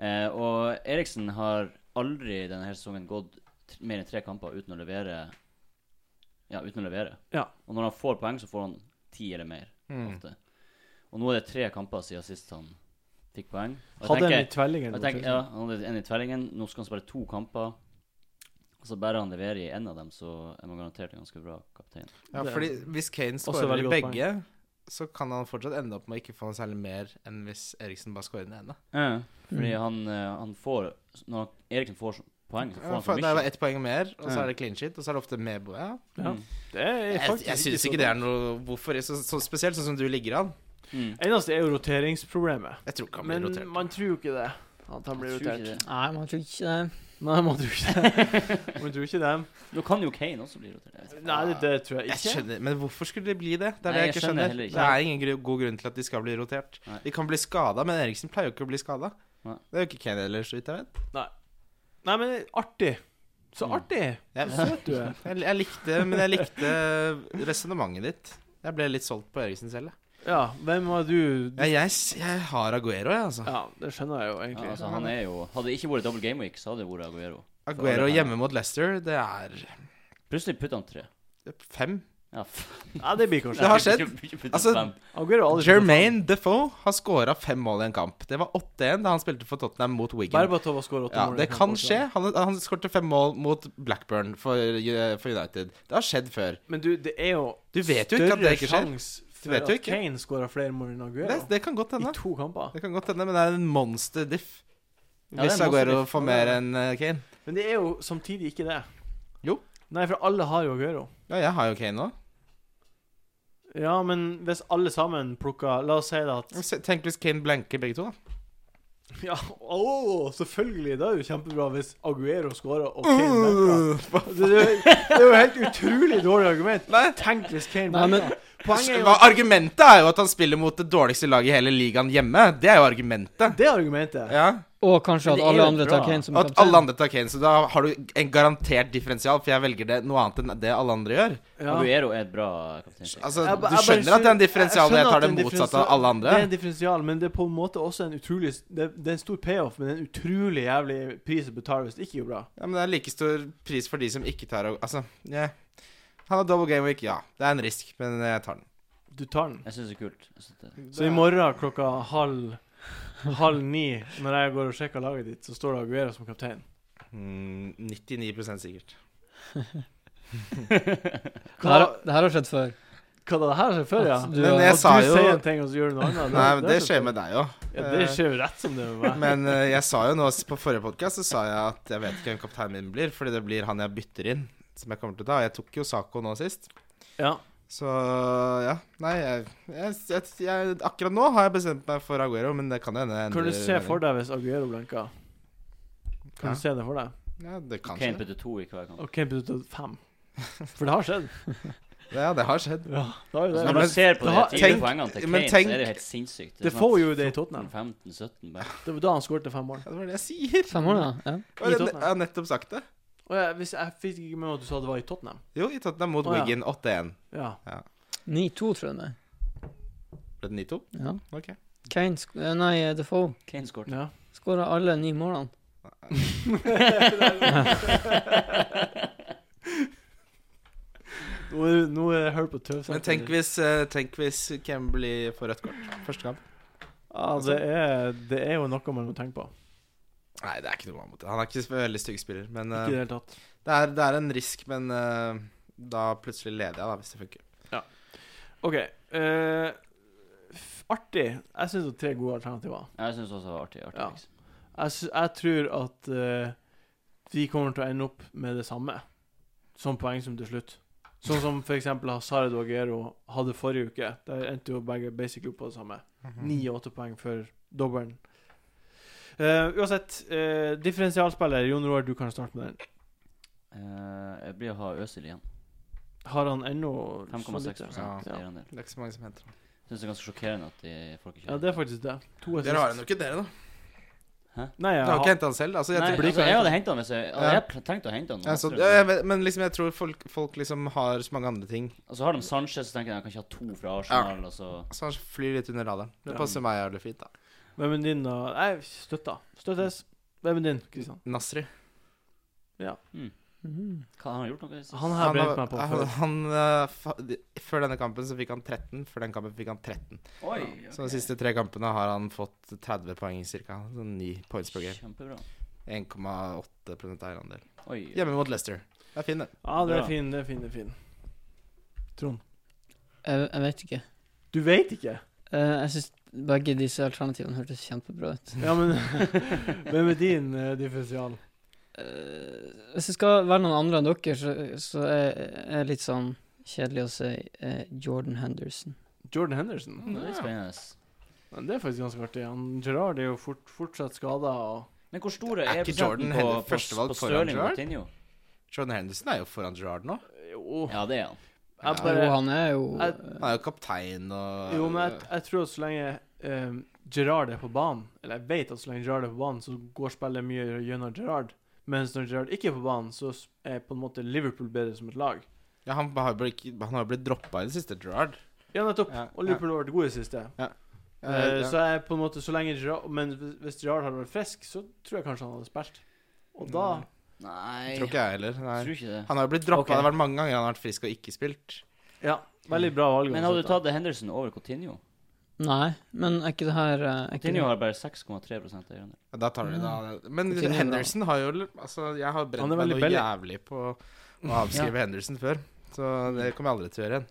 [SPEAKER 3] Eh, og Eriksen har aldri denne her sesongen gått t mer enn tre kamper uten å levere. Ja, uten å levere.
[SPEAKER 1] Ja.
[SPEAKER 3] Og når han får poeng, så får han ti eller mer.
[SPEAKER 5] Mm.
[SPEAKER 3] ofte. Og nå er det tre kamper siden sist han fikk poeng. Og jeg
[SPEAKER 1] Hadde en i
[SPEAKER 3] tenker,
[SPEAKER 1] tvellingen.
[SPEAKER 3] og jeg tenker, ja, han hadde en i tvellingen. Nå skal han spille to kamper. Og så bare han leverer i én av dem, så er man garantert en ganske bra kaptein.
[SPEAKER 5] Ja,
[SPEAKER 1] Det-
[SPEAKER 5] fordi hvis Kane
[SPEAKER 1] Også
[SPEAKER 5] scorer
[SPEAKER 1] veldig
[SPEAKER 5] i
[SPEAKER 1] godt poeng.
[SPEAKER 5] begge, så kan han fortsatt ende opp med å ikke få noe særlig mer enn hvis Eriksen bare scorer i den ene.
[SPEAKER 3] Fordi
[SPEAKER 4] Mm.
[SPEAKER 3] han, eh, han får Når Eriksen får så- poeng, så får
[SPEAKER 5] Ja,
[SPEAKER 3] han for
[SPEAKER 5] for det er jo
[SPEAKER 3] mye.
[SPEAKER 5] ett poeng mer, og så
[SPEAKER 3] Ja.
[SPEAKER 5] er det clean sheet, og så er det ofte med bo- ja.
[SPEAKER 1] Ja.
[SPEAKER 3] Mm.
[SPEAKER 1] Det er
[SPEAKER 5] Jeg,
[SPEAKER 1] faktisk
[SPEAKER 5] jeg syns
[SPEAKER 1] så
[SPEAKER 5] ikke det
[SPEAKER 1] dumt.
[SPEAKER 5] er noe Hvorfor? Så, så spesielt sånn som du ligger an.
[SPEAKER 3] Mm.
[SPEAKER 1] Eneste er jo roteringsproblemet.
[SPEAKER 5] Jeg tror ikke han blir
[SPEAKER 1] Men
[SPEAKER 5] rotert.
[SPEAKER 1] man tror jo ikke det. At han blir
[SPEAKER 3] Jeg tror ikke
[SPEAKER 1] rotert.
[SPEAKER 3] det.
[SPEAKER 4] Nei, man tror ikke det.
[SPEAKER 1] Nei, man tror ikke det. Man tror ikke dem.
[SPEAKER 3] Nå kan jo Kane også bli rotert. Jeg vet ikke.
[SPEAKER 1] Nei, det, det tror jeg
[SPEAKER 5] Jeg
[SPEAKER 1] ikke.
[SPEAKER 5] skjønner, Men hvorfor skulle det bli det? Det er
[SPEAKER 3] Nei, jeg
[SPEAKER 5] det jeg ikke
[SPEAKER 3] skjønner
[SPEAKER 5] skjønner.
[SPEAKER 3] heller ikke.
[SPEAKER 5] Det er ingen gru- god grunn til at de skal bli rotert.
[SPEAKER 3] Nei.
[SPEAKER 5] De kan bli skada, men Eriksen pleier jo ikke å bli skada.
[SPEAKER 3] Nei.
[SPEAKER 5] Det er jo ikke Kane heller, så vidt jeg vet.
[SPEAKER 1] Nei, men artig. Så
[SPEAKER 3] Mm.
[SPEAKER 1] artig!
[SPEAKER 5] Jeg,
[SPEAKER 1] Så søt du er.
[SPEAKER 5] jeg, jeg likte, men jeg likte resonnementet ditt. Jeg ble litt solgt på Eriksen selv. jeg.
[SPEAKER 1] Ja, hvem var du?
[SPEAKER 5] Jeg, jeg, s- jeg har Aguero, jeg, altså.
[SPEAKER 1] Ja, det skjønner jeg jo
[SPEAKER 3] Ja,
[SPEAKER 1] egentlig.
[SPEAKER 3] altså, han er jo Hadde det ikke vært double game week, så hadde det vært Aguero.
[SPEAKER 5] Aguero hjemme mot Leicester, det er
[SPEAKER 3] Plutselig putta han tre.
[SPEAKER 5] fem.
[SPEAKER 3] Ja, f-
[SPEAKER 1] Ja, det blir kanskje
[SPEAKER 5] Det har
[SPEAKER 3] Nei,
[SPEAKER 5] skjedd.
[SPEAKER 3] ikke- ikke puttet
[SPEAKER 5] Altså,
[SPEAKER 3] fem.
[SPEAKER 1] Aguero har aldri
[SPEAKER 5] Jermaine Defoe har scora fem mål i en kamp. Det var 8-1 da han spilte for Tottenham mot Wigan.
[SPEAKER 1] Berbatov har skåret åtte
[SPEAKER 5] Ja,
[SPEAKER 1] mål. i
[SPEAKER 5] det
[SPEAKER 1] kamp
[SPEAKER 5] kan
[SPEAKER 1] også.
[SPEAKER 5] skje. Han, han skårte fem mål mot Blackburn for, eh, for United. Det har skjedd før.
[SPEAKER 1] Men du, det er jo
[SPEAKER 5] Du vet jo ikke at det ikke skjer.
[SPEAKER 1] sjanse
[SPEAKER 5] Du
[SPEAKER 1] for
[SPEAKER 5] vet jo
[SPEAKER 1] at
[SPEAKER 5] ikke.
[SPEAKER 1] Kane skårer flere mål enn Aguero
[SPEAKER 5] Det, det kan godt
[SPEAKER 1] i
[SPEAKER 5] hende.
[SPEAKER 1] to kamper.
[SPEAKER 5] Det kan godt hende, men det er en monster diff.
[SPEAKER 3] Ja, det er
[SPEAKER 5] Hvis
[SPEAKER 3] en monster
[SPEAKER 5] Aguero
[SPEAKER 3] diff.
[SPEAKER 5] får mer enn eh, Kane.
[SPEAKER 1] Men det er jo samtidig ikke det.
[SPEAKER 5] Jo.
[SPEAKER 1] Nei, for alle har jo Aguero.
[SPEAKER 5] Ja, jeg har jo Kane nå.
[SPEAKER 1] Ja, men hvis alle sammen plukker La oss si det at
[SPEAKER 5] Se- Tenk hvis Kane blanker begge to, da.
[SPEAKER 1] Ja, å, selvfølgelig! Det er jo kjempebra hvis Aguero scorer og
[SPEAKER 5] Mm.
[SPEAKER 1] Kane backer. Det, det, det er jo helt utrolig dårlig argument.
[SPEAKER 5] Nei.
[SPEAKER 1] Tenk hvis Kane
[SPEAKER 4] Nei, men-
[SPEAKER 1] backer. Poenget er jo
[SPEAKER 5] Hva- Argumentet er jo at han spiller mot det dårligste laget i hele ligaen hjemme. Det er jo argumentet.
[SPEAKER 1] det argumentet.
[SPEAKER 5] Ja.
[SPEAKER 4] Og kanskje
[SPEAKER 3] Men
[SPEAKER 4] at
[SPEAKER 3] det er
[SPEAKER 4] alle
[SPEAKER 3] jo
[SPEAKER 4] andre
[SPEAKER 3] bra.
[SPEAKER 4] tar Kane som
[SPEAKER 5] Og at
[SPEAKER 4] kaptein.
[SPEAKER 5] alle andre tar Kane, så da har du en garantert differensial, for jeg velger det noe annet enn det alle andre gjør.
[SPEAKER 1] Ja.
[SPEAKER 3] Aguero er et bra kaptein.
[SPEAKER 5] Altså,
[SPEAKER 1] Jeg ba- jeg
[SPEAKER 5] Du
[SPEAKER 1] bare
[SPEAKER 5] skjønner at det er en differensial
[SPEAKER 1] skjønner
[SPEAKER 5] når jeg
[SPEAKER 1] at
[SPEAKER 5] tar
[SPEAKER 1] det er
[SPEAKER 5] det
[SPEAKER 1] en
[SPEAKER 5] motsatte
[SPEAKER 1] differensial-
[SPEAKER 5] av alle andre.
[SPEAKER 1] Det er en differensial, men det er på en måte også en utrolig Det, det er en stor payoff, men det er en utrolig jævlig pris å betale hvis det ikke går bra.
[SPEAKER 5] Ja, men det er like stor pris for de som ikke tar og- Altså, ja. Han har double game week, ja. Det er en risk, men jeg tar den.
[SPEAKER 1] Du tar den.
[SPEAKER 3] Jeg syns det er kult. Jeg synes det.
[SPEAKER 1] Så i morgen klokka halv Halv ni, når jeg går og sjekker laget ditt, så står det Aguero som kaptein.
[SPEAKER 5] Mm, 99 sikkert.
[SPEAKER 4] Det her,
[SPEAKER 1] Hva-
[SPEAKER 4] det her har skjedd før.
[SPEAKER 1] Hva da, det her skjer før, ja?
[SPEAKER 4] At
[SPEAKER 1] At
[SPEAKER 4] Altså, du-
[SPEAKER 5] Men
[SPEAKER 1] du
[SPEAKER 5] jeg sa jo
[SPEAKER 1] sier en ting, og så gjør du noe annet.
[SPEAKER 5] Nei, men det
[SPEAKER 1] er
[SPEAKER 5] skjer
[SPEAKER 1] så-
[SPEAKER 5] med deg òg.
[SPEAKER 1] Ja, det skjer jo rett som det er med meg.
[SPEAKER 5] Men eh, jeg sa jo nå på forrige podkast at jeg vet ikke hvem kapteinen min blir, fordi det blir han jeg bytter inn, som jeg kommer til å ta. Og Jeg tok jo Saco nå sist.
[SPEAKER 1] Ja.
[SPEAKER 5] Så ja. Nei, jeg, jeg, jeg, jeg Akkurat nå har jeg bestemt meg for Aguero, men det kan hende jeg
[SPEAKER 1] Kan du
[SPEAKER 5] endrer
[SPEAKER 1] se for
[SPEAKER 5] mening.
[SPEAKER 1] deg hvis Aguero blanker? Kan
[SPEAKER 5] Ja.
[SPEAKER 1] du se det for deg?
[SPEAKER 5] Ja, det kan
[SPEAKER 3] Kane
[SPEAKER 5] skje.
[SPEAKER 3] putter to i hver kamp.
[SPEAKER 1] Og Kane putter ut fem. For det har skjedd.
[SPEAKER 5] Ja, det har skjedd.
[SPEAKER 1] Ja, det har jo
[SPEAKER 3] Altså,
[SPEAKER 1] det.
[SPEAKER 3] når
[SPEAKER 5] men
[SPEAKER 3] du ser
[SPEAKER 1] det
[SPEAKER 3] på de
[SPEAKER 1] har-
[SPEAKER 3] tidlige
[SPEAKER 5] tenk-
[SPEAKER 3] poengene til
[SPEAKER 5] men
[SPEAKER 3] Kane,
[SPEAKER 5] tenk-
[SPEAKER 3] så er sånn det jo helt sinnssykt.
[SPEAKER 1] Det får jo det i Tottenham.
[SPEAKER 3] 15-17 bare.
[SPEAKER 1] Det var da han skåret fem mål.
[SPEAKER 5] Ja, det var det jeg sier.
[SPEAKER 1] Sånn.
[SPEAKER 4] Fem år, da. Ja.
[SPEAKER 5] Og Jeg
[SPEAKER 1] Tottenham.
[SPEAKER 5] jeg har nettopp sagt det.
[SPEAKER 1] Og jeg, hvis jeg fikk ikke med meg at du sa det var i Tottenham.
[SPEAKER 5] Jo, i Tottenham mot
[SPEAKER 1] Å, ja.
[SPEAKER 5] Wigan 8-1.
[SPEAKER 1] Ja.
[SPEAKER 4] 9-2, tror jeg det er.
[SPEAKER 5] Ble det 9-2?
[SPEAKER 4] Ja.
[SPEAKER 5] Ok.
[SPEAKER 4] Kane sk eh, Nei, eh, Defoe
[SPEAKER 3] Kane skåret.
[SPEAKER 1] ja.
[SPEAKER 4] skåra alle ni målene.
[SPEAKER 1] Nå er, nå er det hørt på tøv.
[SPEAKER 5] Men tenk hvis, uh, tenk hvis Cambly får rødt kort første kamp.
[SPEAKER 1] Ja, det er, det er jo noe man må tenke på.
[SPEAKER 5] Nei, det er ikke noe annet. Han er ikke så veldig stygg spiller, men
[SPEAKER 1] Ikke
[SPEAKER 5] eh,
[SPEAKER 1] i det hele tatt.
[SPEAKER 5] Det er, det er en risk, men eh, da plutselig leder jeg, da, hvis det funker.
[SPEAKER 1] OK. eh, f- artig. Jeg syns det er tre gode alternativer.
[SPEAKER 3] Jeg syns også det var artig. artig
[SPEAKER 1] Ja.
[SPEAKER 3] liksom.
[SPEAKER 1] Jeg, sy- jeg tror at eh, vi kommer til å ende opp med det samme, som poengsum til slutt. Sånn som f.eks. Hazard og Aguero hadde forrige uke. Der endte jo begge basically opp på det samme. Ni og åtte poeng for dobbelen. Eh, uansett, eh, differensialspiller Jon Roar, du kan starte med den.
[SPEAKER 3] Eh, jeg blir å ha Øsil igjen.
[SPEAKER 1] Har han ennå så
[SPEAKER 3] 5,6
[SPEAKER 1] lite?
[SPEAKER 5] Ja.
[SPEAKER 3] eierandel.
[SPEAKER 5] Det er ikke så mange som henter ham.
[SPEAKER 3] Syns det er ganske sjokkerende at de, folk ikke
[SPEAKER 1] Ja, det er faktisk det. To
[SPEAKER 5] Dere har han
[SPEAKER 1] assist.
[SPEAKER 5] jo ikke, dere, da.
[SPEAKER 1] Nei, jeg
[SPEAKER 5] Dere har
[SPEAKER 1] har-
[SPEAKER 5] ikke henta han selv. Altså, jeg,
[SPEAKER 3] Nei,
[SPEAKER 5] tror-
[SPEAKER 1] blir
[SPEAKER 3] altså,
[SPEAKER 1] ikke
[SPEAKER 3] jeg
[SPEAKER 1] å
[SPEAKER 3] hadde hentet han hvis jeg altså,
[SPEAKER 5] Ja.
[SPEAKER 3] Jeg pl- tenkte å hente han. nå.
[SPEAKER 5] jeg, så, ja, jeg vet, men liksom, jeg tror folk, folk liksom har så mange andre ting.
[SPEAKER 3] Og så har de Sanchez, så tenker jeg jeg kan ikke ha to fra Arsenal. Og så
[SPEAKER 5] Så han flyr litt under radaren. Det
[SPEAKER 1] Ja.
[SPEAKER 5] passer meg jævlig fint, da.
[SPEAKER 1] Hvem er din, da? Nei, støtta. Støttes. Hvem er din, Kristian?
[SPEAKER 5] Nasri.
[SPEAKER 4] Mhm.
[SPEAKER 3] Hva har han gjort noe? sist?
[SPEAKER 1] Han her
[SPEAKER 5] Han,
[SPEAKER 1] brente meg på
[SPEAKER 5] har- han,
[SPEAKER 1] før.
[SPEAKER 5] eh, fa de- før denne kampen så fikk han 13. Før den kampen fikk han 13.
[SPEAKER 3] Oi,
[SPEAKER 5] Så de
[SPEAKER 3] ok.
[SPEAKER 5] siste tre kampene har han fått 30 poeng ca. Sånn 9 points per game.
[SPEAKER 3] Kjempebra.
[SPEAKER 5] 1,8 eierandel.
[SPEAKER 3] Oi.
[SPEAKER 5] Hjemme mot Leicester. Det er fint, det.
[SPEAKER 1] Ja, det er
[SPEAKER 3] Bra.
[SPEAKER 1] fin, det er fin, det er fin. Trond.
[SPEAKER 4] Jeg, jeg vet ikke.
[SPEAKER 1] Du veit ikke?
[SPEAKER 4] Eh, jeg syns begge disse alternativene hørtes kjempebra ut.
[SPEAKER 1] Ja, men Hvem er din uh, differensial?
[SPEAKER 4] Eh, hvis det skal være noen andre enn dere, så, så er er litt sånn kjedelig å si eh, Jordan Henderson.
[SPEAKER 1] Jordan Henderson?
[SPEAKER 3] Det er litt spennende.
[SPEAKER 1] Men det er faktisk ganske artig. Han Gerard er jo fort, fortsatt skada, og
[SPEAKER 3] Men hvor store
[SPEAKER 5] Er
[SPEAKER 3] er,
[SPEAKER 5] ikke
[SPEAKER 3] prosenten
[SPEAKER 5] Jordan
[SPEAKER 3] på,
[SPEAKER 5] heller
[SPEAKER 3] på,
[SPEAKER 5] førstevalg
[SPEAKER 3] på
[SPEAKER 5] foran
[SPEAKER 3] Stirling og
[SPEAKER 5] Gerrard?
[SPEAKER 3] Coutinho?
[SPEAKER 5] Jordan Henderson er jo foran Gerrard nå.
[SPEAKER 1] Jo,
[SPEAKER 3] Ja, det er han.
[SPEAKER 1] jeg
[SPEAKER 4] Jo,
[SPEAKER 1] bare
[SPEAKER 4] han er jo
[SPEAKER 1] jeg-
[SPEAKER 5] Han er jo kaptein og
[SPEAKER 1] Jo, men jeg, jeg tror at så lenge um, Gerard er på banen, eller jeg vet at så lenge Gerard er på banen, så går spillet mye gjennom Gerard. Mens når Gerard ikke er på banen, så s- er på en måte Liverpool bedre som et lag.
[SPEAKER 5] ja, han har jo blitt, han har jo blitt droppa i det siste, Gerrard.
[SPEAKER 1] Ja, nettopp.
[SPEAKER 5] Ja,
[SPEAKER 1] Og Liverpool har vært gode i det siste.
[SPEAKER 5] Ja,
[SPEAKER 1] Eh,
[SPEAKER 5] ja.
[SPEAKER 1] Så jeg på en måte, så lenge Gerard Men hvis- hvis Gerard hadde vært frisk, så tror jeg kanskje han hadde spilt. Og da
[SPEAKER 3] Nei
[SPEAKER 5] Tror ikke jeg heller.
[SPEAKER 3] Tror
[SPEAKER 5] Nei.
[SPEAKER 3] ikke det.
[SPEAKER 5] Han har jo blitt droppa.
[SPEAKER 1] Ok.
[SPEAKER 5] Det har vært mange ganger han har vært frisk og ikke spilt.
[SPEAKER 1] Ja, veldig bra valg. altså.
[SPEAKER 3] Men hadde du tatt Henderson over Coutinho?
[SPEAKER 4] Nei, men er ikke det her eh, er ikke det,
[SPEAKER 3] Coutinho har bare 6,3 eierandel.
[SPEAKER 5] Ja, Da tar du det, da. Men
[SPEAKER 4] Coutinho, da.
[SPEAKER 5] Henderson har jo Altså, jeg har
[SPEAKER 1] Han
[SPEAKER 5] brent
[SPEAKER 1] er
[SPEAKER 5] meg
[SPEAKER 1] veldig
[SPEAKER 5] noe
[SPEAKER 1] billig.
[SPEAKER 5] jævlig på å avskrive Henderson før. Så det kommer jeg aldri til å gjøre igjen.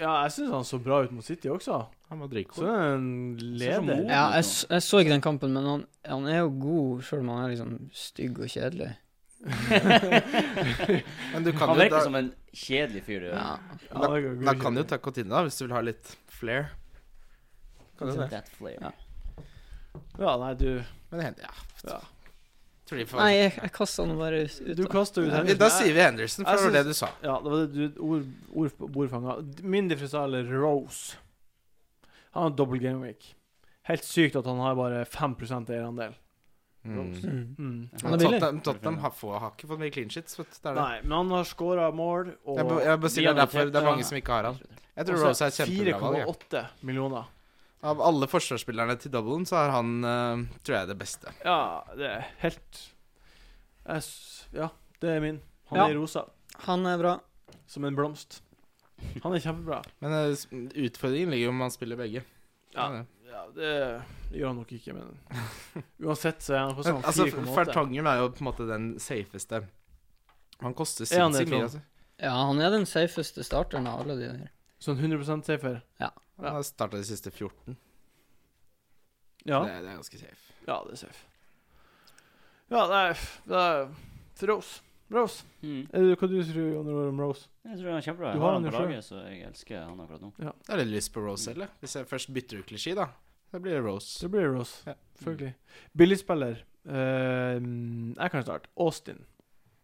[SPEAKER 1] Ja, jeg syns han så bra ut mot City også.
[SPEAKER 5] Han var
[SPEAKER 1] Så
[SPEAKER 5] dritgod.
[SPEAKER 1] er det en leder.
[SPEAKER 3] moden.
[SPEAKER 4] Ja, jeg, s- jeg så ikke den kampen, men han, han er jo god, sjøl om han er liksom stygg og kjedelig.
[SPEAKER 5] Men du
[SPEAKER 3] Han
[SPEAKER 5] kan jo
[SPEAKER 3] virker
[SPEAKER 5] da,
[SPEAKER 3] som en kjedelig fyr. du.
[SPEAKER 4] Ja.
[SPEAKER 1] Ja, det går
[SPEAKER 5] da
[SPEAKER 1] ikke.
[SPEAKER 5] kan du jo ta Coutinho, da, hvis du vil ha litt flair. Kan du det?
[SPEAKER 3] That flair.
[SPEAKER 4] Ja.
[SPEAKER 1] Ja, nei, du
[SPEAKER 5] Men Hen- ja.
[SPEAKER 1] Ja.
[SPEAKER 5] Tror de får
[SPEAKER 4] Nei, jeg, jeg kasta han bare ut. ut
[SPEAKER 1] Du kasta ut
[SPEAKER 5] Nei, Da sier vi Henderson,
[SPEAKER 1] Jeg
[SPEAKER 5] for det var det
[SPEAKER 1] synes-
[SPEAKER 5] du sa.
[SPEAKER 1] Ja, det var det du ord, ord, ordfanga. Min differensial er Rose. Han har dobbel gameweek. Helt sykt at han har bare 5 eierandel.
[SPEAKER 5] Mm.
[SPEAKER 4] Mm.
[SPEAKER 1] Mm.
[SPEAKER 4] Han er billig.
[SPEAKER 5] Tottenham, Tottenham har, få, har ikke fått mye clean shits. Vet, du, det er det.
[SPEAKER 1] Nei, men han har scora mål, og
[SPEAKER 5] Jeg, bare- jeg bare sier det, er derfor, det er mange
[SPEAKER 1] ja.
[SPEAKER 5] som ikke har han. Jeg tror Rose
[SPEAKER 1] også
[SPEAKER 5] er et kjempebra valg. jeg.
[SPEAKER 1] 4,8 millioner.
[SPEAKER 5] Av alle forsvarsspillerne til doublen, så er han, eh, tror jeg, det beste.
[SPEAKER 1] Ja, det er helt jeg, s- Ja, det er min. Han
[SPEAKER 4] Ja.
[SPEAKER 1] er rosa,
[SPEAKER 4] Han er bra.
[SPEAKER 1] som en blomst. Han er kjempebra.
[SPEAKER 5] Men eh, s- utfordringen ligger jo om han spiller begge.
[SPEAKER 1] Ja,
[SPEAKER 5] Ja.
[SPEAKER 1] ja det gjør han nok ikke, men uansett så er han på sånn
[SPEAKER 5] Men, altså,
[SPEAKER 1] 4,8.
[SPEAKER 5] Fertongen er jo på en måte den safeste. Han koster
[SPEAKER 1] Er han det,
[SPEAKER 5] sinnssykt mye.
[SPEAKER 1] Trond?
[SPEAKER 5] Altså.
[SPEAKER 4] Ja, han er den safeste starteren av alle de der.
[SPEAKER 1] Sånn 100 safer. Ja.
[SPEAKER 5] Han har starta de siste 14.
[SPEAKER 1] Ja.
[SPEAKER 5] Det, det er ganske safe.
[SPEAKER 1] Ja, det er safe. Ja, det er, det er for Rose. Rose.
[SPEAKER 3] Mm.
[SPEAKER 1] Er det hva du tror Jon Roar, om Rose?
[SPEAKER 3] Jeg tror han er kjempebra.
[SPEAKER 1] Du
[SPEAKER 3] Jeg
[SPEAKER 1] har
[SPEAKER 3] har han
[SPEAKER 1] han
[SPEAKER 3] på
[SPEAKER 1] jo selv.
[SPEAKER 3] laget, så jeg elsker han akkurat nå.
[SPEAKER 5] Jeg har litt lyst på Rose selv, jeg. hvis jeg først bytter ut klisjé, da. Da blir det Rose.
[SPEAKER 1] Så blir det Rose.
[SPEAKER 5] Ja.
[SPEAKER 1] Selvfølgelig. Billigspiller. Eh, jeg kan starte. Austin.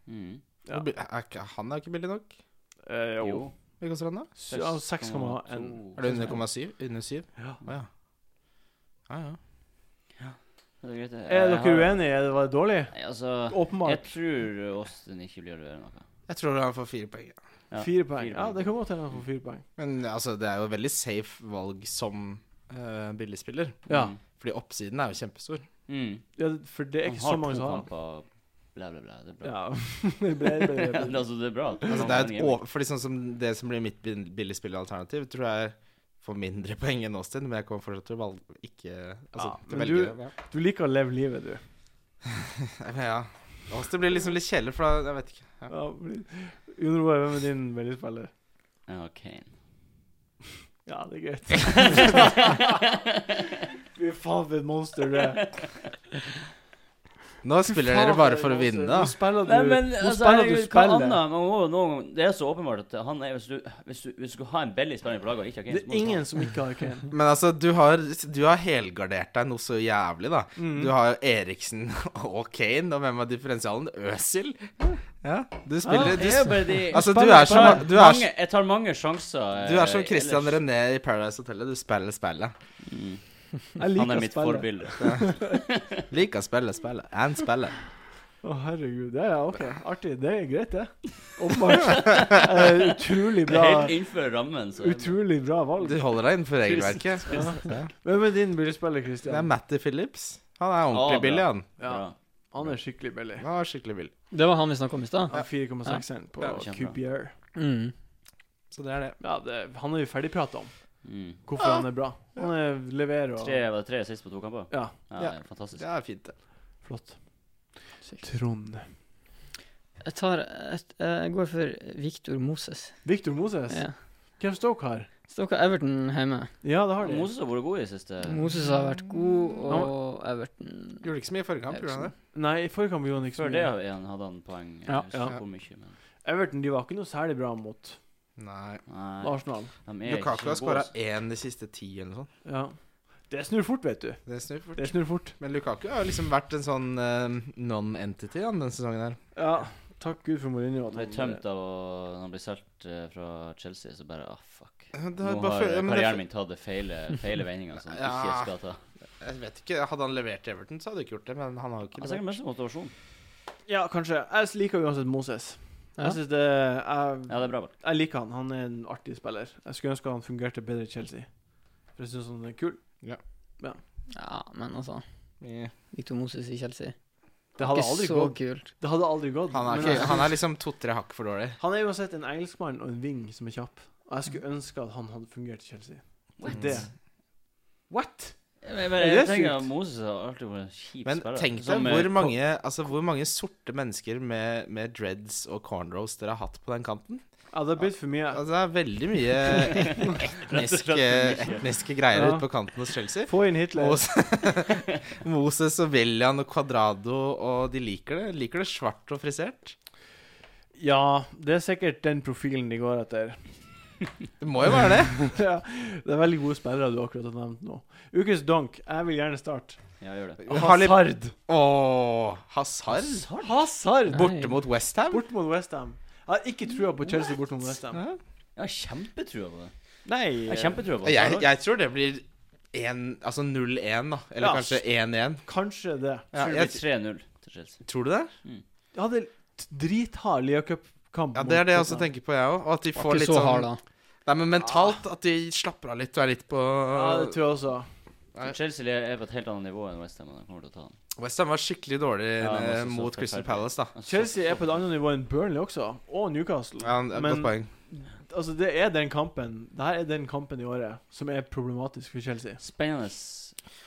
[SPEAKER 3] Mm.
[SPEAKER 1] Ja.
[SPEAKER 5] Da blir- Er ikke, han er ikke billig nok.
[SPEAKER 1] Eh, jo.
[SPEAKER 5] Hva koster han, da?
[SPEAKER 1] S- ja, 6,1.
[SPEAKER 5] Er det under 7? Under 7?
[SPEAKER 1] Ja.
[SPEAKER 5] Å ja. Ja, ja.
[SPEAKER 3] Det er greit, det.
[SPEAKER 1] Er
[SPEAKER 3] Jeg
[SPEAKER 1] dere
[SPEAKER 3] har-
[SPEAKER 1] uenige? Er det, var det dårlig?
[SPEAKER 3] Nei, Altså, jeg
[SPEAKER 1] Åpenbart.
[SPEAKER 3] tror Austin ikke blir å gjøre noe.
[SPEAKER 5] Jeg tror han får fire poeng. ja.
[SPEAKER 3] Ja,
[SPEAKER 1] Fire poeng.
[SPEAKER 3] fire
[SPEAKER 1] Ja,
[SPEAKER 3] poeng.
[SPEAKER 1] det kan godt hende han får fire poeng.
[SPEAKER 5] Men altså, det er jo et veldig safe valg som eh, billigspiller.
[SPEAKER 1] Ja.
[SPEAKER 3] Mm.
[SPEAKER 5] Fordi oppsiden er jo kjempestor.
[SPEAKER 3] Mm.
[SPEAKER 1] ja, for det er
[SPEAKER 3] Han
[SPEAKER 1] ikke så mange
[SPEAKER 3] to
[SPEAKER 1] som har han.
[SPEAKER 3] kamper, bla, bla, bla. Det er bra.
[SPEAKER 1] Ja. det ble, det ble, det ble.
[SPEAKER 3] altså, det er bra. at
[SPEAKER 5] Altså,
[SPEAKER 3] han
[SPEAKER 5] det,
[SPEAKER 3] har
[SPEAKER 5] er
[SPEAKER 3] en
[SPEAKER 5] et
[SPEAKER 3] gaming.
[SPEAKER 5] over, fordi sånn som det som blir mitt bil- billigspilleralternativ, tror jeg får mindre poeng enn Austin, men jeg kommer fortsatt til å valge ikke Altså,
[SPEAKER 1] Ja,
[SPEAKER 5] til å
[SPEAKER 1] men
[SPEAKER 5] velge
[SPEAKER 1] du-
[SPEAKER 5] ja.
[SPEAKER 1] Du liker å leve livet, du.
[SPEAKER 5] Nei, men ja. Austin blir liksom litt kjedelig, for da Jeg vet ikke. Ja.
[SPEAKER 1] Ja. Jon Roar, hvem er din billigspiller?
[SPEAKER 3] Ja, Kane.
[SPEAKER 1] Ja, det er greit. Fy faen, for et monster du er.
[SPEAKER 5] Nå spiller dere bare for å vinne, da.
[SPEAKER 1] Nå spiller du,
[SPEAKER 3] Nei, men
[SPEAKER 1] nå
[SPEAKER 3] altså,
[SPEAKER 1] spiller du
[SPEAKER 3] herregud, hva
[SPEAKER 1] spillet.
[SPEAKER 3] annet? Man må, jo noen, gang- det er så åpenbart at han er Hvis du, hvis du, hvis du skulle ha en billig spiller på laget og ikke ha Kane
[SPEAKER 1] Det er ingen som ikke har Kane.
[SPEAKER 5] Men altså, du har, du har helgardert deg noe så jævlig, da.
[SPEAKER 1] Mm.
[SPEAKER 5] Du har jo Eriksen og Kane, og hvem er differensialen? Øsil? Ja, du
[SPEAKER 3] Ah,
[SPEAKER 5] spiller du, s- Altså, du er som du er,
[SPEAKER 3] mange,
[SPEAKER 5] s-
[SPEAKER 3] Jeg tar mange sjanser. eh,
[SPEAKER 5] du er som Christian
[SPEAKER 3] ellers.
[SPEAKER 5] René i Paradise Hotel. Du spiller spillet.
[SPEAKER 3] Mm.
[SPEAKER 1] Jeg liker
[SPEAKER 3] Han er mitt
[SPEAKER 1] spillet.
[SPEAKER 3] forbilde.
[SPEAKER 5] Liker å spille spillet. And spillet.
[SPEAKER 1] Å, herregud. Det er ok. Artig. Det er greit, det. Åpenbart. Eh, utrolig
[SPEAKER 3] Det
[SPEAKER 1] bra
[SPEAKER 3] er helt innenfor rammen. Så
[SPEAKER 1] Utrolig bra valg.
[SPEAKER 5] Du holder deg innenfor regelverket. Ja.
[SPEAKER 1] Hvem er din billigspiller,
[SPEAKER 5] Det er
[SPEAKER 1] Christian?
[SPEAKER 5] Matty Phillips. Han er
[SPEAKER 3] Ah, bra.
[SPEAKER 5] ordentlig billig, han.
[SPEAKER 1] Ja,
[SPEAKER 3] Bra.
[SPEAKER 1] han er skikkelig billig.
[SPEAKER 5] Han er skikkelig billig.
[SPEAKER 4] Det var han vi snakka om i stad.
[SPEAKER 1] Han er 4,6 på
[SPEAKER 5] Ja,
[SPEAKER 3] kjempebra.
[SPEAKER 1] QPR.
[SPEAKER 4] Mm.
[SPEAKER 5] Så det er det.
[SPEAKER 1] Ja, det, han er vi ferdigprata om.
[SPEAKER 3] Mm.
[SPEAKER 1] Hvorfor han er bra. Han er, leverer og
[SPEAKER 3] Tre, var det tre sist på to kamper?
[SPEAKER 1] Ja,
[SPEAKER 3] Ja,
[SPEAKER 5] Ja.
[SPEAKER 3] det er Fantastisk.
[SPEAKER 5] Det er fint, det.
[SPEAKER 1] flott. Trond.
[SPEAKER 4] Jeg tar Jeg, jeg går for Victor Moses.
[SPEAKER 1] Victor Moses.
[SPEAKER 4] Ja.
[SPEAKER 1] Hvem Stoke har?
[SPEAKER 4] Stoke har Everton hjemme.
[SPEAKER 1] Ja, det har de.
[SPEAKER 3] Moses har vært god i det siste.
[SPEAKER 4] Moses har vært god, og Everton
[SPEAKER 5] Gjorde ikke så mye i forrige kamp, gjorde han det?
[SPEAKER 1] Nei, i forrige kamp gjorde han ikke så
[SPEAKER 3] Før det
[SPEAKER 1] mye.
[SPEAKER 3] igjen hadde han poeng. Jeg
[SPEAKER 1] Ja,
[SPEAKER 3] husker
[SPEAKER 1] ja.
[SPEAKER 3] ikke hvor mye, men
[SPEAKER 1] Everton de var ikke noe særlig bra mot
[SPEAKER 5] Nei.
[SPEAKER 3] Nei,
[SPEAKER 1] Arsenal.
[SPEAKER 3] de er ikke
[SPEAKER 5] Lukaku
[SPEAKER 3] så
[SPEAKER 5] har skåra
[SPEAKER 3] gode.
[SPEAKER 5] én de siste ti, eller noe sånt.
[SPEAKER 1] Ja. Det snur fort, vet du.
[SPEAKER 5] Det snur fort.
[SPEAKER 1] Det snur fort.
[SPEAKER 5] Men Lukaku har jo liksom vært en sånn eh, non-entity han, denne sesongen her.
[SPEAKER 1] Ja, takk Gud for Mourinho. at
[SPEAKER 3] Han ble
[SPEAKER 1] han-
[SPEAKER 3] tømt av å Når han ble solgt eh, fra Chelsea, så bare ah, fuck.
[SPEAKER 5] Det
[SPEAKER 3] Nå
[SPEAKER 5] har
[SPEAKER 3] har
[SPEAKER 5] bare føl- ja, men det
[SPEAKER 3] karrieren min tatt det feile, feile vendinga som jeg ikke
[SPEAKER 5] Ja.
[SPEAKER 3] skal ta.
[SPEAKER 5] føl- Jeg vet ikke, Hadde han levert til Everton, så hadde jeg ikke gjort det. Men han har jo ikke
[SPEAKER 3] Han er sikkert
[SPEAKER 5] levert.
[SPEAKER 3] mest motivasjon.
[SPEAKER 1] Ja, kanskje. Jeg liker uansett Moses.
[SPEAKER 4] Ja.
[SPEAKER 1] Jeg synes det jeg,
[SPEAKER 3] Ja, det er bra. vel.
[SPEAKER 1] jeg liker han. Han er en artig spiller. Jeg skulle ønske han fungerte bedre i Chelsea. For jeg synes han er kul.
[SPEAKER 4] Ja, men altså
[SPEAKER 5] Ja.
[SPEAKER 4] Victor Moses i Chelsea.
[SPEAKER 1] Det hadde
[SPEAKER 4] ikke
[SPEAKER 1] aldri
[SPEAKER 4] så
[SPEAKER 1] gått.
[SPEAKER 4] kult.
[SPEAKER 1] Det hadde aldri gått.
[SPEAKER 5] Han er,
[SPEAKER 1] Men
[SPEAKER 5] ikke,
[SPEAKER 1] jeg
[SPEAKER 5] han
[SPEAKER 1] synes-
[SPEAKER 5] er liksom to-tre hakk for dårlig.
[SPEAKER 1] han er uansett en engelskmann og en wing som er kjapp. Og jeg skulle ønske at han hadde fungert i Chelsea.
[SPEAKER 5] Mm. What?
[SPEAKER 1] Det. What?
[SPEAKER 3] Jeg, bare,
[SPEAKER 1] Ja, det er
[SPEAKER 3] jeg tenker
[SPEAKER 1] sykt.
[SPEAKER 3] at Moses har alltid vært en kjip
[SPEAKER 5] Men
[SPEAKER 3] spiller.
[SPEAKER 5] tenk deg
[SPEAKER 3] Som, eh,
[SPEAKER 5] hvor mange, altså, hvor mange sorte mennesker med, med dreads og cornrows dere har hatt på den kanten.
[SPEAKER 1] Ja, det har blitt for mye.
[SPEAKER 5] Altså, det er veldig mye etniske, etniske greier
[SPEAKER 1] Ja.
[SPEAKER 5] ute på kanten hos Chelsea.
[SPEAKER 1] Få inn Hitler.
[SPEAKER 5] Moses, Moses og William og Quadrado, og de liker det. Liker det svart og frisert.
[SPEAKER 1] Ja, det er sikkert den profilen de går etter.
[SPEAKER 5] Det må jo være det.
[SPEAKER 1] ja, det er veldig gode spillere du akkurat har nevnt nå. Ukens donk. Jeg vil gjerne starte.
[SPEAKER 3] Ja, gjør det.
[SPEAKER 5] Harley-
[SPEAKER 1] Hazard.
[SPEAKER 5] Åh, Hazard?
[SPEAKER 1] Hazard.
[SPEAKER 5] Borte mot Westham?
[SPEAKER 1] Bort mot Westham. Jeg har ikke trua på Chelsea bort mot Westham.
[SPEAKER 3] Jeg har kjempetrua på det.
[SPEAKER 1] Nei,
[SPEAKER 3] Jeg har kjempetrua på det.
[SPEAKER 5] Jeg, jeg tror det blir 1 Altså 0-1, da. Eller
[SPEAKER 1] Ja.
[SPEAKER 5] kanskje 1-1.
[SPEAKER 1] kanskje det.
[SPEAKER 5] Ja,
[SPEAKER 3] tror det
[SPEAKER 5] jeg-
[SPEAKER 3] blir 3-0 til Chelsea.
[SPEAKER 5] tror du det?
[SPEAKER 1] Jeg hadde t- drithard Lia Cup-kamp.
[SPEAKER 5] Ja, Det er det jeg også
[SPEAKER 1] mot Tottenham.
[SPEAKER 5] tenker på, jeg òg. Og at de
[SPEAKER 4] Var
[SPEAKER 5] får
[SPEAKER 4] ikke
[SPEAKER 5] litt
[SPEAKER 4] så hard,
[SPEAKER 5] sånn
[SPEAKER 4] da.
[SPEAKER 5] Nei, men mentalt at de slapper av litt og er litt på
[SPEAKER 1] Ja, det tror jeg også.
[SPEAKER 5] Nei.
[SPEAKER 3] Chelsea er på et helt annet nivå enn Westham. De kommer til å ta den.
[SPEAKER 5] Westham var skikkelig dårlig
[SPEAKER 3] Ja, men
[SPEAKER 5] eh,
[SPEAKER 3] også så
[SPEAKER 5] mot Crystal
[SPEAKER 3] forferdelig.
[SPEAKER 5] Palace, da.
[SPEAKER 3] Altså,
[SPEAKER 1] Chelsea er på et annet nivå enn Burnley også, og Newcastle.
[SPEAKER 5] Ja, det er et
[SPEAKER 1] Men-
[SPEAKER 5] Godt poeng.
[SPEAKER 1] Altså, det er den kampen Dette er den kampen i året som er problematisk for Chelsea.
[SPEAKER 3] Spennende.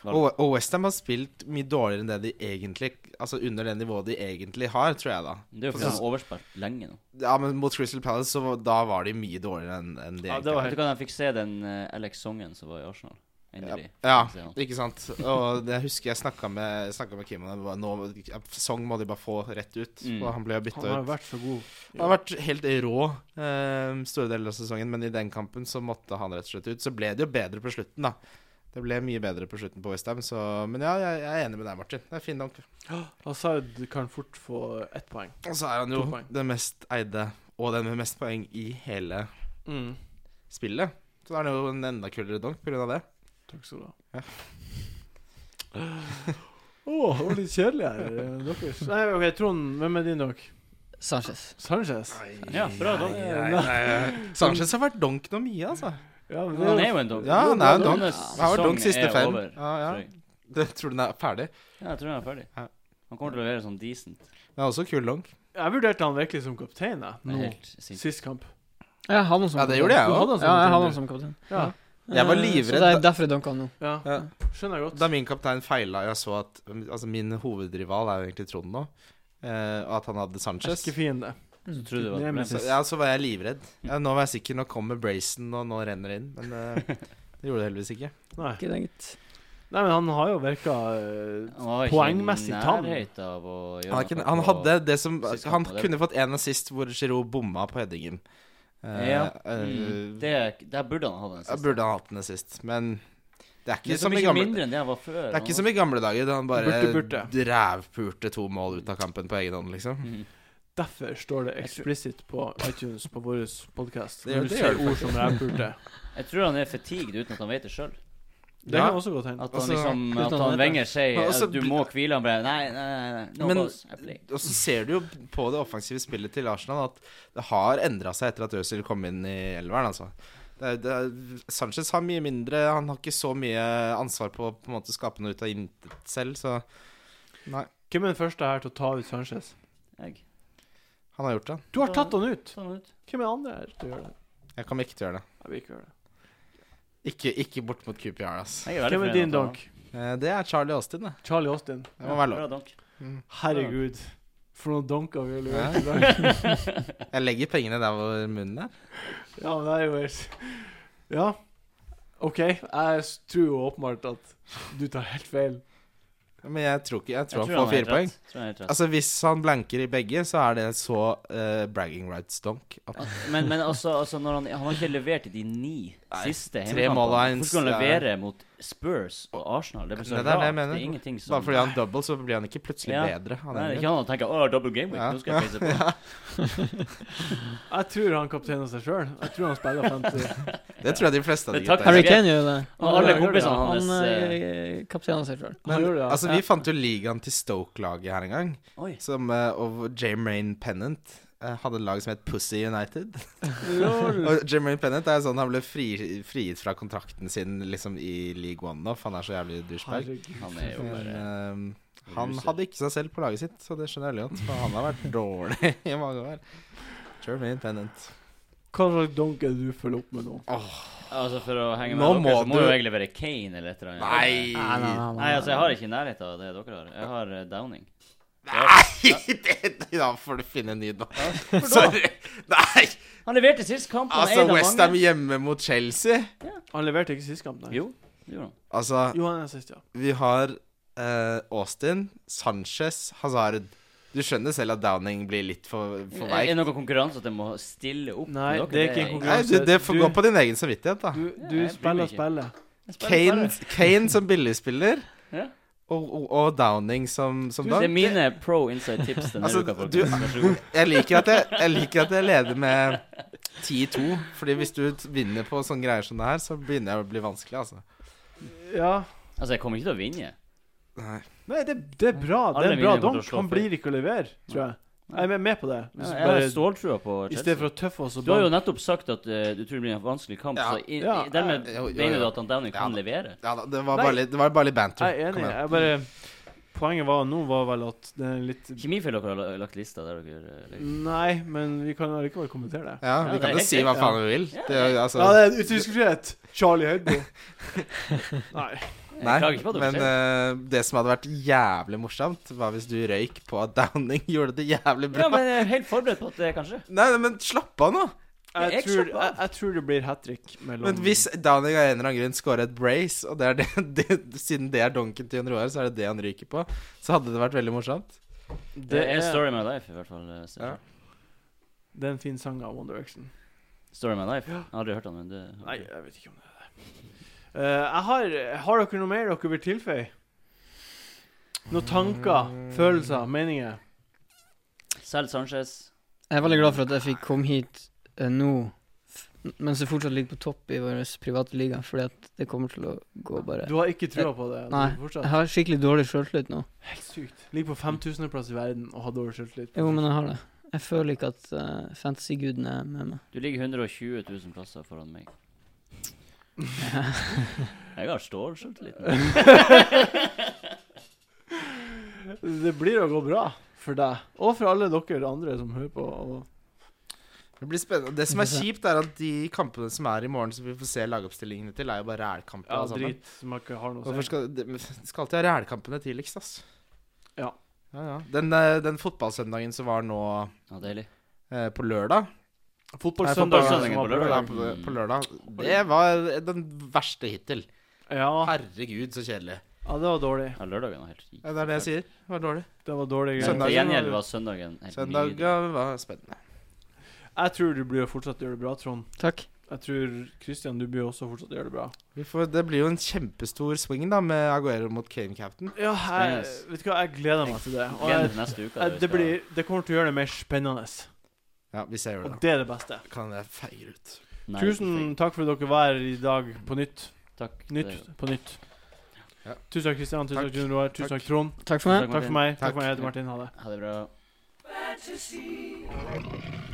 [SPEAKER 5] Og, og Westham har spilt mye dårligere enn det de egentlig Altså under det nivået de egentlig har, tror jeg, da.
[SPEAKER 3] Det er jo fordi de har overspilt lenge nå.
[SPEAKER 5] Ja, men mot Crystal Palace, så var- da var de mye dårligere enn enn de
[SPEAKER 1] Ja, det var
[SPEAKER 5] egentlig var.
[SPEAKER 3] Vet du hva, jeg fikk se den eh, Alex Songen som var i Arsenal. Endelig.
[SPEAKER 5] Ja,
[SPEAKER 3] Fikk se han.
[SPEAKER 5] ikke sant. Og det jeg husker jeg snakka med, snakket med Kim om det. bare Nå, song må de bare få rett ut.
[SPEAKER 3] Mm.
[SPEAKER 5] Og han ble jo
[SPEAKER 1] Han har
[SPEAKER 5] bytta
[SPEAKER 1] jo
[SPEAKER 5] ut.
[SPEAKER 1] vært så god.
[SPEAKER 5] Han har vært helt rå eh, store deler av sesongen, men i den kampen så måtte han rett og slett ut. Så ble det jo bedre på slutten, da. Det ble mye bedre på slutten på Westham, så Men ja, jeg, jeg er enig med deg, Martin. Det er fin donk.
[SPEAKER 1] Hazard kan fort få ett poeng.
[SPEAKER 5] Og så er han jo
[SPEAKER 1] To poeng.
[SPEAKER 5] den mest eide, og den med mest poeng i hele spillet. Så da er det jo en enda kulere donk pga. det.
[SPEAKER 1] Takk skal du ha.
[SPEAKER 5] Ja.
[SPEAKER 1] Å, det var litt kjedelig her. eh, Deres. Nei, ok, Trond, hvem er din dere?
[SPEAKER 4] Sanchez.
[SPEAKER 1] Sanchez?
[SPEAKER 3] Ja, bra donk.
[SPEAKER 5] Nei, nei, nei. Sanchez har vært donk nå mye, altså.
[SPEAKER 1] Ja, men
[SPEAKER 3] Men Han er jo en dog.
[SPEAKER 5] Ja, han er en dog.
[SPEAKER 3] Hans
[SPEAKER 5] Han har vært donk
[SPEAKER 3] sesong
[SPEAKER 5] siste
[SPEAKER 3] er
[SPEAKER 5] fem.
[SPEAKER 3] over,
[SPEAKER 5] Ja, ja.
[SPEAKER 3] tror jeg.
[SPEAKER 5] Det, tror du den er ferdig?
[SPEAKER 3] ja, jeg tror han er ferdig.
[SPEAKER 5] Ja.
[SPEAKER 3] Han kommer til å levere sånn decent.
[SPEAKER 5] Den er også kul donk.
[SPEAKER 1] Jeg vurderte han virkelig som kaptein, jeg.
[SPEAKER 3] Det er
[SPEAKER 1] Nå.
[SPEAKER 3] Helt sinnssykt.
[SPEAKER 1] Sist kamp.
[SPEAKER 4] Jeg hadde han som
[SPEAKER 5] Ja, det gjorde jeg
[SPEAKER 1] Du
[SPEAKER 5] òg.
[SPEAKER 1] hadde han som
[SPEAKER 4] Ja, jeg hadde
[SPEAKER 1] kaptein,
[SPEAKER 4] han som kaptein.
[SPEAKER 1] Ja.
[SPEAKER 5] Jeg var
[SPEAKER 4] Eh,
[SPEAKER 5] livredd
[SPEAKER 4] Så det er
[SPEAKER 5] da-
[SPEAKER 4] derfor jeg dunka han nå.
[SPEAKER 1] du. Ja.
[SPEAKER 5] Ja.
[SPEAKER 1] Skjønner jeg godt.
[SPEAKER 5] Da min kaptein feila, jeg så at Altså, min hovedrival er jo egentlig Trond nå, eh, og at han hadde Sanchez.
[SPEAKER 1] Erkefiende.
[SPEAKER 3] Så tror du det var et problem.
[SPEAKER 1] Nemesis.
[SPEAKER 5] Så, ja, så var jeg livredd. Ja, nå var jeg sikker. Nå kommer Brayson, og nå renner det inn. Men eh, det gjorde det heldigvis ikke.
[SPEAKER 1] Nei.
[SPEAKER 4] Ikke det, gitt.
[SPEAKER 1] Nei, men han har jo virka eh,
[SPEAKER 3] Han var ikke
[SPEAKER 1] Poengmessig
[SPEAKER 3] i
[SPEAKER 1] tam.
[SPEAKER 3] nærhet av å gjøre
[SPEAKER 5] Han, er ikke,
[SPEAKER 3] noe
[SPEAKER 5] han
[SPEAKER 3] på-
[SPEAKER 5] hadde det som
[SPEAKER 3] siste
[SPEAKER 5] Han
[SPEAKER 3] kampen, det-
[SPEAKER 5] kunne fått en assist hvor Giroud bomma på headingen. Eh,
[SPEAKER 3] Ja.
[SPEAKER 5] eh,
[SPEAKER 3] Mm. Det, der burde han hatt den
[SPEAKER 5] Da
[SPEAKER 3] siste.
[SPEAKER 5] burde han hatt en assist, men det er ikke,
[SPEAKER 3] Det er så
[SPEAKER 5] som, i
[SPEAKER 3] mye
[SPEAKER 5] gamle,
[SPEAKER 3] mindre enn det han var før.
[SPEAKER 5] det er ikke som i gamle dager, da han bare
[SPEAKER 1] Burte, burte.
[SPEAKER 5] rævpulte to mål ut av kampen på egen hånd, liksom.
[SPEAKER 3] Mm.
[SPEAKER 1] Derfor står det explicit på iTunes på vår podkast.
[SPEAKER 5] Det gjør-
[SPEAKER 1] Når du
[SPEAKER 5] det
[SPEAKER 1] ser
[SPEAKER 5] gjør det
[SPEAKER 1] ord som rævpulte.
[SPEAKER 3] Jeg tror han er fatigued uten at han vet det sjøl.
[SPEAKER 1] Det
[SPEAKER 5] Ja.
[SPEAKER 1] kan også godt hende.
[SPEAKER 3] At han
[SPEAKER 5] Altså,
[SPEAKER 3] liksom
[SPEAKER 4] uten
[SPEAKER 3] At
[SPEAKER 4] at
[SPEAKER 3] han
[SPEAKER 4] han vet
[SPEAKER 3] Wenger sier
[SPEAKER 5] Men også
[SPEAKER 3] at du
[SPEAKER 5] bli-
[SPEAKER 3] må hvile. Han bare Nei, nei, nei. nei, No
[SPEAKER 5] Altså, Men-
[SPEAKER 3] balls, I play.
[SPEAKER 5] Og så ser du jo på det offensive spillet til Arsenal at det har endra seg etter at Øzil kom inn i elveren, altså. Det er, det er, Sanchez har mye mindre Han har ikke så mye ansvar på å på en måte skape noe ut av intet selv, så Nei.
[SPEAKER 1] Hvem er den første her til å ta ut Sanchez?
[SPEAKER 3] Jeg.
[SPEAKER 5] Han har gjort det.
[SPEAKER 1] Du har tatt han ut!
[SPEAKER 3] Sånn ut.
[SPEAKER 1] Hvem er den andre her til å gjøre det?
[SPEAKER 5] Jeg kommer ikke til å gjøre det.
[SPEAKER 1] Jeg vil ikke gjøre det.
[SPEAKER 5] Ikke, ikke bort mot QPR, altså.
[SPEAKER 3] Jeg er veldig
[SPEAKER 1] Hvem
[SPEAKER 3] fornøyd
[SPEAKER 1] er din
[SPEAKER 3] med at han-
[SPEAKER 1] donk?
[SPEAKER 5] Eh, Det er Charlie Austin, det.
[SPEAKER 1] Charlie Austin.
[SPEAKER 5] Det må være lov. Mm.
[SPEAKER 3] Bra donk.
[SPEAKER 1] Herregud. For noen donker vi har levert
[SPEAKER 5] Ja.
[SPEAKER 1] i dag.
[SPEAKER 5] Jeg legger pengene der hvor munnen er.
[SPEAKER 1] Ja, men det er jo helt Ja. OK, jeg s- tror jo åpenbart at du tar helt feil.
[SPEAKER 5] Men jeg tror ikke Jeg tror,
[SPEAKER 3] Jeg
[SPEAKER 5] han får
[SPEAKER 3] har helt
[SPEAKER 5] fire poeng.
[SPEAKER 3] rett. Tror han har helt rett.
[SPEAKER 5] Altså Hvis han blanker i begge, så er det så eh, bragging rights donk. at-
[SPEAKER 3] altså, Men, men altså, altså når han, han har ikke levert i de ni
[SPEAKER 5] Nei,
[SPEAKER 3] siste
[SPEAKER 5] tre mål av
[SPEAKER 3] hjemmekampen.
[SPEAKER 5] en-
[SPEAKER 3] Hvorfor skal han levere mot Spurs og Arsenal? Det blir så
[SPEAKER 5] Nei, det er det jeg
[SPEAKER 3] rart.
[SPEAKER 5] mener.
[SPEAKER 3] Det er ingenting som
[SPEAKER 5] Bare fordi han double, så blir han ikke plutselig
[SPEAKER 3] Ja.
[SPEAKER 5] bedre. Han
[SPEAKER 3] Nei,
[SPEAKER 5] er
[SPEAKER 3] det er
[SPEAKER 5] jo-
[SPEAKER 3] ikke han tenker 'Å, double game week,
[SPEAKER 5] Ja.
[SPEAKER 3] nå skal jeg peise på'.
[SPEAKER 1] Jeg tror han kapteina seg sjøl. Jeg tror han spiller 50.
[SPEAKER 5] Det tror jeg de fleste av de
[SPEAKER 3] Det er
[SPEAKER 5] gutta
[SPEAKER 3] taktisk.
[SPEAKER 4] Harry
[SPEAKER 5] gjør.
[SPEAKER 3] greit.
[SPEAKER 4] Kane gjør jo det.
[SPEAKER 3] Og alle
[SPEAKER 1] Ja,
[SPEAKER 3] kompisene
[SPEAKER 1] gjør
[SPEAKER 3] hans
[SPEAKER 4] Han
[SPEAKER 3] eh,
[SPEAKER 4] eh, kapteiner seg sjøl.
[SPEAKER 1] Han gjorde det.
[SPEAKER 5] altså,
[SPEAKER 4] Ja.
[SPEAKER 5] vi fant jo ligaen til Stoke-laget her en gang.
[SPEAKER 3] Oi.
[SPEAKER 5] Som, eh, og Jamaine Pennant eh, hadde et lag som het Pussy United.
[SPEAKER 1] Lol.
[SPEAKER 5] Og Jamaine Pennant er sånn han ble fri, frigitt fra kontrakten sin liksom i League One nå, for han er så jævlig douchebag.
[SPEAKER 1] Herregud.
[SPEAKER 3] Han er jo
[SPEAKER 5] Men,
[SPEAKER 3] bare
[SPEAKER 5] eh, han hadde ikke seg selv på laget sitt, så det skjønner jeg veldig godt. For han har vært dårlig i mange år. Jermaine Pennant.
[SPEAKER 1] Hva slags donk er det du følger opp med nå?
[SPEAKER 3] Altså, for å henge med
[SPEAKER 5] Nå
[SPEAKER 3] dere, så
[SPEAKER 5] må
[SPEAKER 3] må
[SPEAKER 5] du-
[SPEAKER 3] jo jeg levere Kane eller et eller annet.
[SPEAKER 4] Nei, nei, nei,
[SPEAKER 3] Nei, altså, jeg har ikke i nærheten av det dere har. Jeg har eh, Downing.
[SPEAKER 5] Nei! Det, da får du finne en ny, da. Sorry. Nei!
[SPEAKER 3] Han leverte sist kamp. Han
[SPEAKER 5] Altså,
[SPEAKER 3] er en av
[SPEAKER 5] Westham
[SPEAKER 3] mange.
[SPEAKER 5] hjemme mot Chelsea.
[SPEAKER 1] Han leverte ikke sist kamp, nei.
[SPEAKER 3] Jo, det gjorde han.
[SPEAKER 5] Altså,
[SPEAKER 1] Jo, han er sist, ja.
[SPEAKER 5] vi har eh, Austin, Sanchez, Hazard. Du skjønner selv at Downing blir litt for,
[SPEAKER 1] Eh,
[SPEAKER 5] for
[SPEAKER 3] Er
[SPEAKER 5] veik.
[SPEAKER 3] det noen konkurranse at jeg må stille opp?
[SPEAKER 1] Nei,
[SPEAKER 3] med dere?
[SPEAKER 1] det er ikke en
[SPEAKER 5] Nei, du, det får
[SPEAKER 1] Du-
[SPEAKER 5] gå på din egen samvittighet, da.
[SPEAKER 1] Du, du
[SPEAKER 3] jeg bryr
[SPEAKER 1] spiller
[SPEAKER 3] meg ikke.
[SPEAKER 1] spillet.
[SPEAKER 3] Jeg spiller
[SPEAKER 5] Kane, Kane som billigspiller,
[SPEAKER 3] Ja.
[SPEAKER 5] og, og, og Downing som, som
[SPEAKER 3] bare. Det er
[SPEAKER 5] dog.
[SPEAKER 3] mine pro inside tips denne
[SPEAKER 5] Altså,
[SPEAKER 3] uka,
[SPEAKER 5] du-
[SPEAKER 3] folkens. Vær så god.
[SPEAKER 5] Jeg liker at jeg, jeg, liker at jeg leder med 10-2, Fordi hvis du t- vinner på sånne greier som det her, så begynner jeg å bli vanskelig, altså.
[SPEAKER 1] Ja.
[SPEAKER 3] Altså, jeg kommer ikke til å vinne.
[SPEAKER 5] Nei.
[SPEAKER 1] Nei, det, det er bra. Det er
[SPEAKER 3] Alle
[SPEAKER 1] en bra
[SPEAKER 3] vinner kommer til å
[SPEAKER 1] donk.
[SPEAKER 3] slå
[SPEAKER 1] Han
[SPEAKER 3] for.
[SPEAKER 1] blir ikke å levere, tror jeg. Jeg er med på det. Hvis
[SPEAKER 3] Jeg
[SPEAKER 1] du
[SPEAKER 3] har
[SPEAKER 1] bare,
[SPEAKER 3] ståltrua på
[SPEAKER 1] I stedet
[SPEAKER 3] Chelsea.
[SPEAKER 1] for å tøffe oss og
[SPEAKER 3] Du har jo
[SPEAKER 1] banke-
[SPEAKER 3] nettopp sagt at eh, du tror det blir en vanskelig kamp,
[SPEAKER 5] Ja.
[SPEAKER 3] så i,
[SPEAKER 1] Ja,
[SPEAKER 3] i, dermed
[SPEAKER 5] eh, jo, jo,
[SPEAKER 3] mener du
[SPEAKER 5] jo.
[SPEAKER 3] at han Downing kan levere?
[SPEAKER 5] Ja da, det var,
[SPEAKER 1] Nei.
[SPEAKER 5] bare litt, det var bare litt banter.
[SPEAKER 1] Jeg er
[SPEAKER 5] Kom
[SPEAKER 1] enig.
[SPEAKER 5] igjen.
[SPEAKER 1] Jeg bare Poenget var nå var vel at det er litt
[SPEAKER 3] Kjemifil dere har la- lagt lista der dere eh, legger-
[SPEAKER 1] Nei, men vi kan allikevel kommentere det.
[SPEAKER 5] Ja,
[SPEAKER 3] Ja,
[SPEAKER 5] vi
[SPEAKER 3] det er
[SPEAKER 5] kan jo
[SPEAKER 3] helt
[SPEAKER 5] si
[SPEAKER 3] greit,
[SPEAKER 5] hva
[SPEAKER 1] ja.
[SPEAKER 5] faen vi vil. Det, er jo- altså,
[SPEAKER 1] Ja, det er uttrykksfrihet! Charlie Høybo. Nei.
[SPEAKER 3] Jeg
[SPEAKER 5] Nei,
[SPEAKER 3] klager ikke på at dere
[SPEAKER 5] men
[SPEAKER 3] ser.
[SPEAKER 5] eh, det som hadde vært jævlig morsomt, var hvis du røyk på at Downing gjorde det jævlig bra.
[SPEAKER 3] Ja, men jeg er helt forberedt på at det kanskje
[SPEAKER 5] Nei, nei, men slapp av nå!
[SPEAKER 1] Jeg
[SPEAKER 3] Jeg
[SPEAKER 1] tror,
[SPEAKER 3] slapp
[SPEAKER 1] jeg,
[SPEAKER 3] av.
[SPEAKER 1] jeg tror det blir hat trick mellom
[SPEAKER 5] Men hvis Downing av en eller annen grunn scorer et brace, og det er det, det, siden det er donken til Jon Roar, så er det det han ryker på, så hadde det vært veldig morsomt.
[SPEAKER 3] Det er Story of My Life, i hvert fall. eh,
[SPEAKER 5] Ja.
[SPEAKER 1] Det er en fin sang av One Direction.
[SPEAKER 3] Story of My Life. Jeg har aldri hørt den, men det
[SPEAKER 1] Nei, jeg vet ikke om det er det. Eh, jeg har, har dere noe mer dere vil tilføye? Noen tanker, følelser, meninger?
[SPEAKER 3] Selv Sanchez.
[SPEAKER 4] Jeg er veldig glad for at jeg fikk komme hit eh, nå, f- mens jeg fortsatt ligger på topp i vår private liga, fordi at det kommer til å gå bare
[SPEAKER 1] Du har ikke trua på det? du
[SPEAKER 4] Nei.
[SPEAKER 1] fortsatt?
[SPEAKER 4] Jeg har skikkelig dårlig sjøltillit nå.
[SPEAKER 1] Helt sykt. Ligger på 5000.-plass i verden og har dårlig selvtillit.
[SPEAKER 4] Jo, men jeg har det. Jeg føler ikke at eh, fantasy-guden er med meg.
[SPEAKER 3] Du ligger 120 000 plasser foran meg. jeg har stålskjølt litt. nå.
[SPEAKER 1] Det blir å gå bra for deg, og for alle dere andre som hører på. Og
[SPEAKER 5] Det blir spennende. Det som er kjipt, er at de kampene som er i morgen, som vi får se lagoppstillingene til, er jo bare sånn, rælkamper.
[SPEAKER 1] ja,
[SPEAKER 5] alle sammen.
[SPEAKER 1] drit som jeg ikke har noe å
[SPEAKER 5] Hvorfor
[SPEAKER 1] si.
[SPEAKER 5] skal de, skal alltid ha rælkampene tidligst, ass.
[SPEAKER 1] Ja.
[SPEAKER 5] ja, ja. Den, eh, den fotballsøndagen som var nå
[SPEAKER 3] Ja, deilig.
[SPEAKER 5] eh, på lørdag
[SPEAKER 1] Fotballsøndag
[SPEAKER 5] Nei,
[SPEAKER 1] som var på
[SPEAKER 5] på
[SPEAKER 1] lørdag. Mm.
[SPEAKER 5] lørdag. På, på lørdag. Det var den verste hittil.
[SPEAKER 1] Ja,
[SPEAKER 5] Herregud, så kjedelig.
[SPEAKER 1] ja, det var dårlig.
[SPEAKER 3] Ja, lørdagen var helt syk.
[SPEAKER 5] Ja, det er det jeg sier. Det var dårlig.
[SPEAKER 1] Det var dårlig
[SPEAKER 3] Men
[SPEAKER 5] Søndagen
[SPEAKER 3] til gjengjeld
[SPEAKER 1] greier.
[SPEAKER 3] var søndagen helt nydelig.
[SPEAKER 5] Søndagen var spennende.
[SPEAKER 1] Jeg tror du blir å fortsatt gjøre det bra, Trond.
[SPEAKER 4] Takk.
[SPEAKER 1] Jeg tror Christian, du blir også fortsatt gjøre det bra.
[SPEAKER 5] Vi får, det blir jo en kjempestor swing da med Aguero mot Kane Captain.
[SPEAKER 1] Ja, jeg,
[SPEAKER 3] Spennende.
[SPEAKER 1] vet du hva, jeg gleder meg til det. Og
[SPEAKER 3] Gleder meg
[SPEAKER 1] jeg,
[SPEAKER 3] til neste
[SPEAKER 1] jeg,
[SPEAKER 3] uke. da vi
[SPEAKER 1] det,
[SPEAKER 3] skal-
[SPEAKER 1] blir, det kommer til å gjøre det mer spennende,
[SPEAKER 5] Ja, hvis jeg gjør
[SPEAKER 1] og
[SPEAKER 5] det, da.
[SPEAKER 1] det er det beste.
[SPEAKER 5] Kan jeg feire ut.
[SPEAKER 3] Nei,
[SPEAKER 1] Tusen
[SPEAKER 3] ikke
[SPEAKER 1] takk for at dere var her i dag på nytt.
[SPEAKER 3] Takk.
[SPEAKER 1] Nytt på nytt.
[SPEAKER 5] Ja.
[SPEAKER 1] Tusen takk, Christian. Tusen takk,
[SPEAKER 5] Takk.
[SPEAKER 1] Jon Roar. Tusen takk,
[SPEAKER 5] Takk.
[SPEAKER 1] Trond.
[SPEAKER 4] Takk for meg.
[SPEAKER 1] Takk for meg. Takk
[SPEAKER 5] Takk.
[SPEAKER 1] for meg. Jeg heter Martin. Ha det.
[SPEAKER 3] Ha det bra.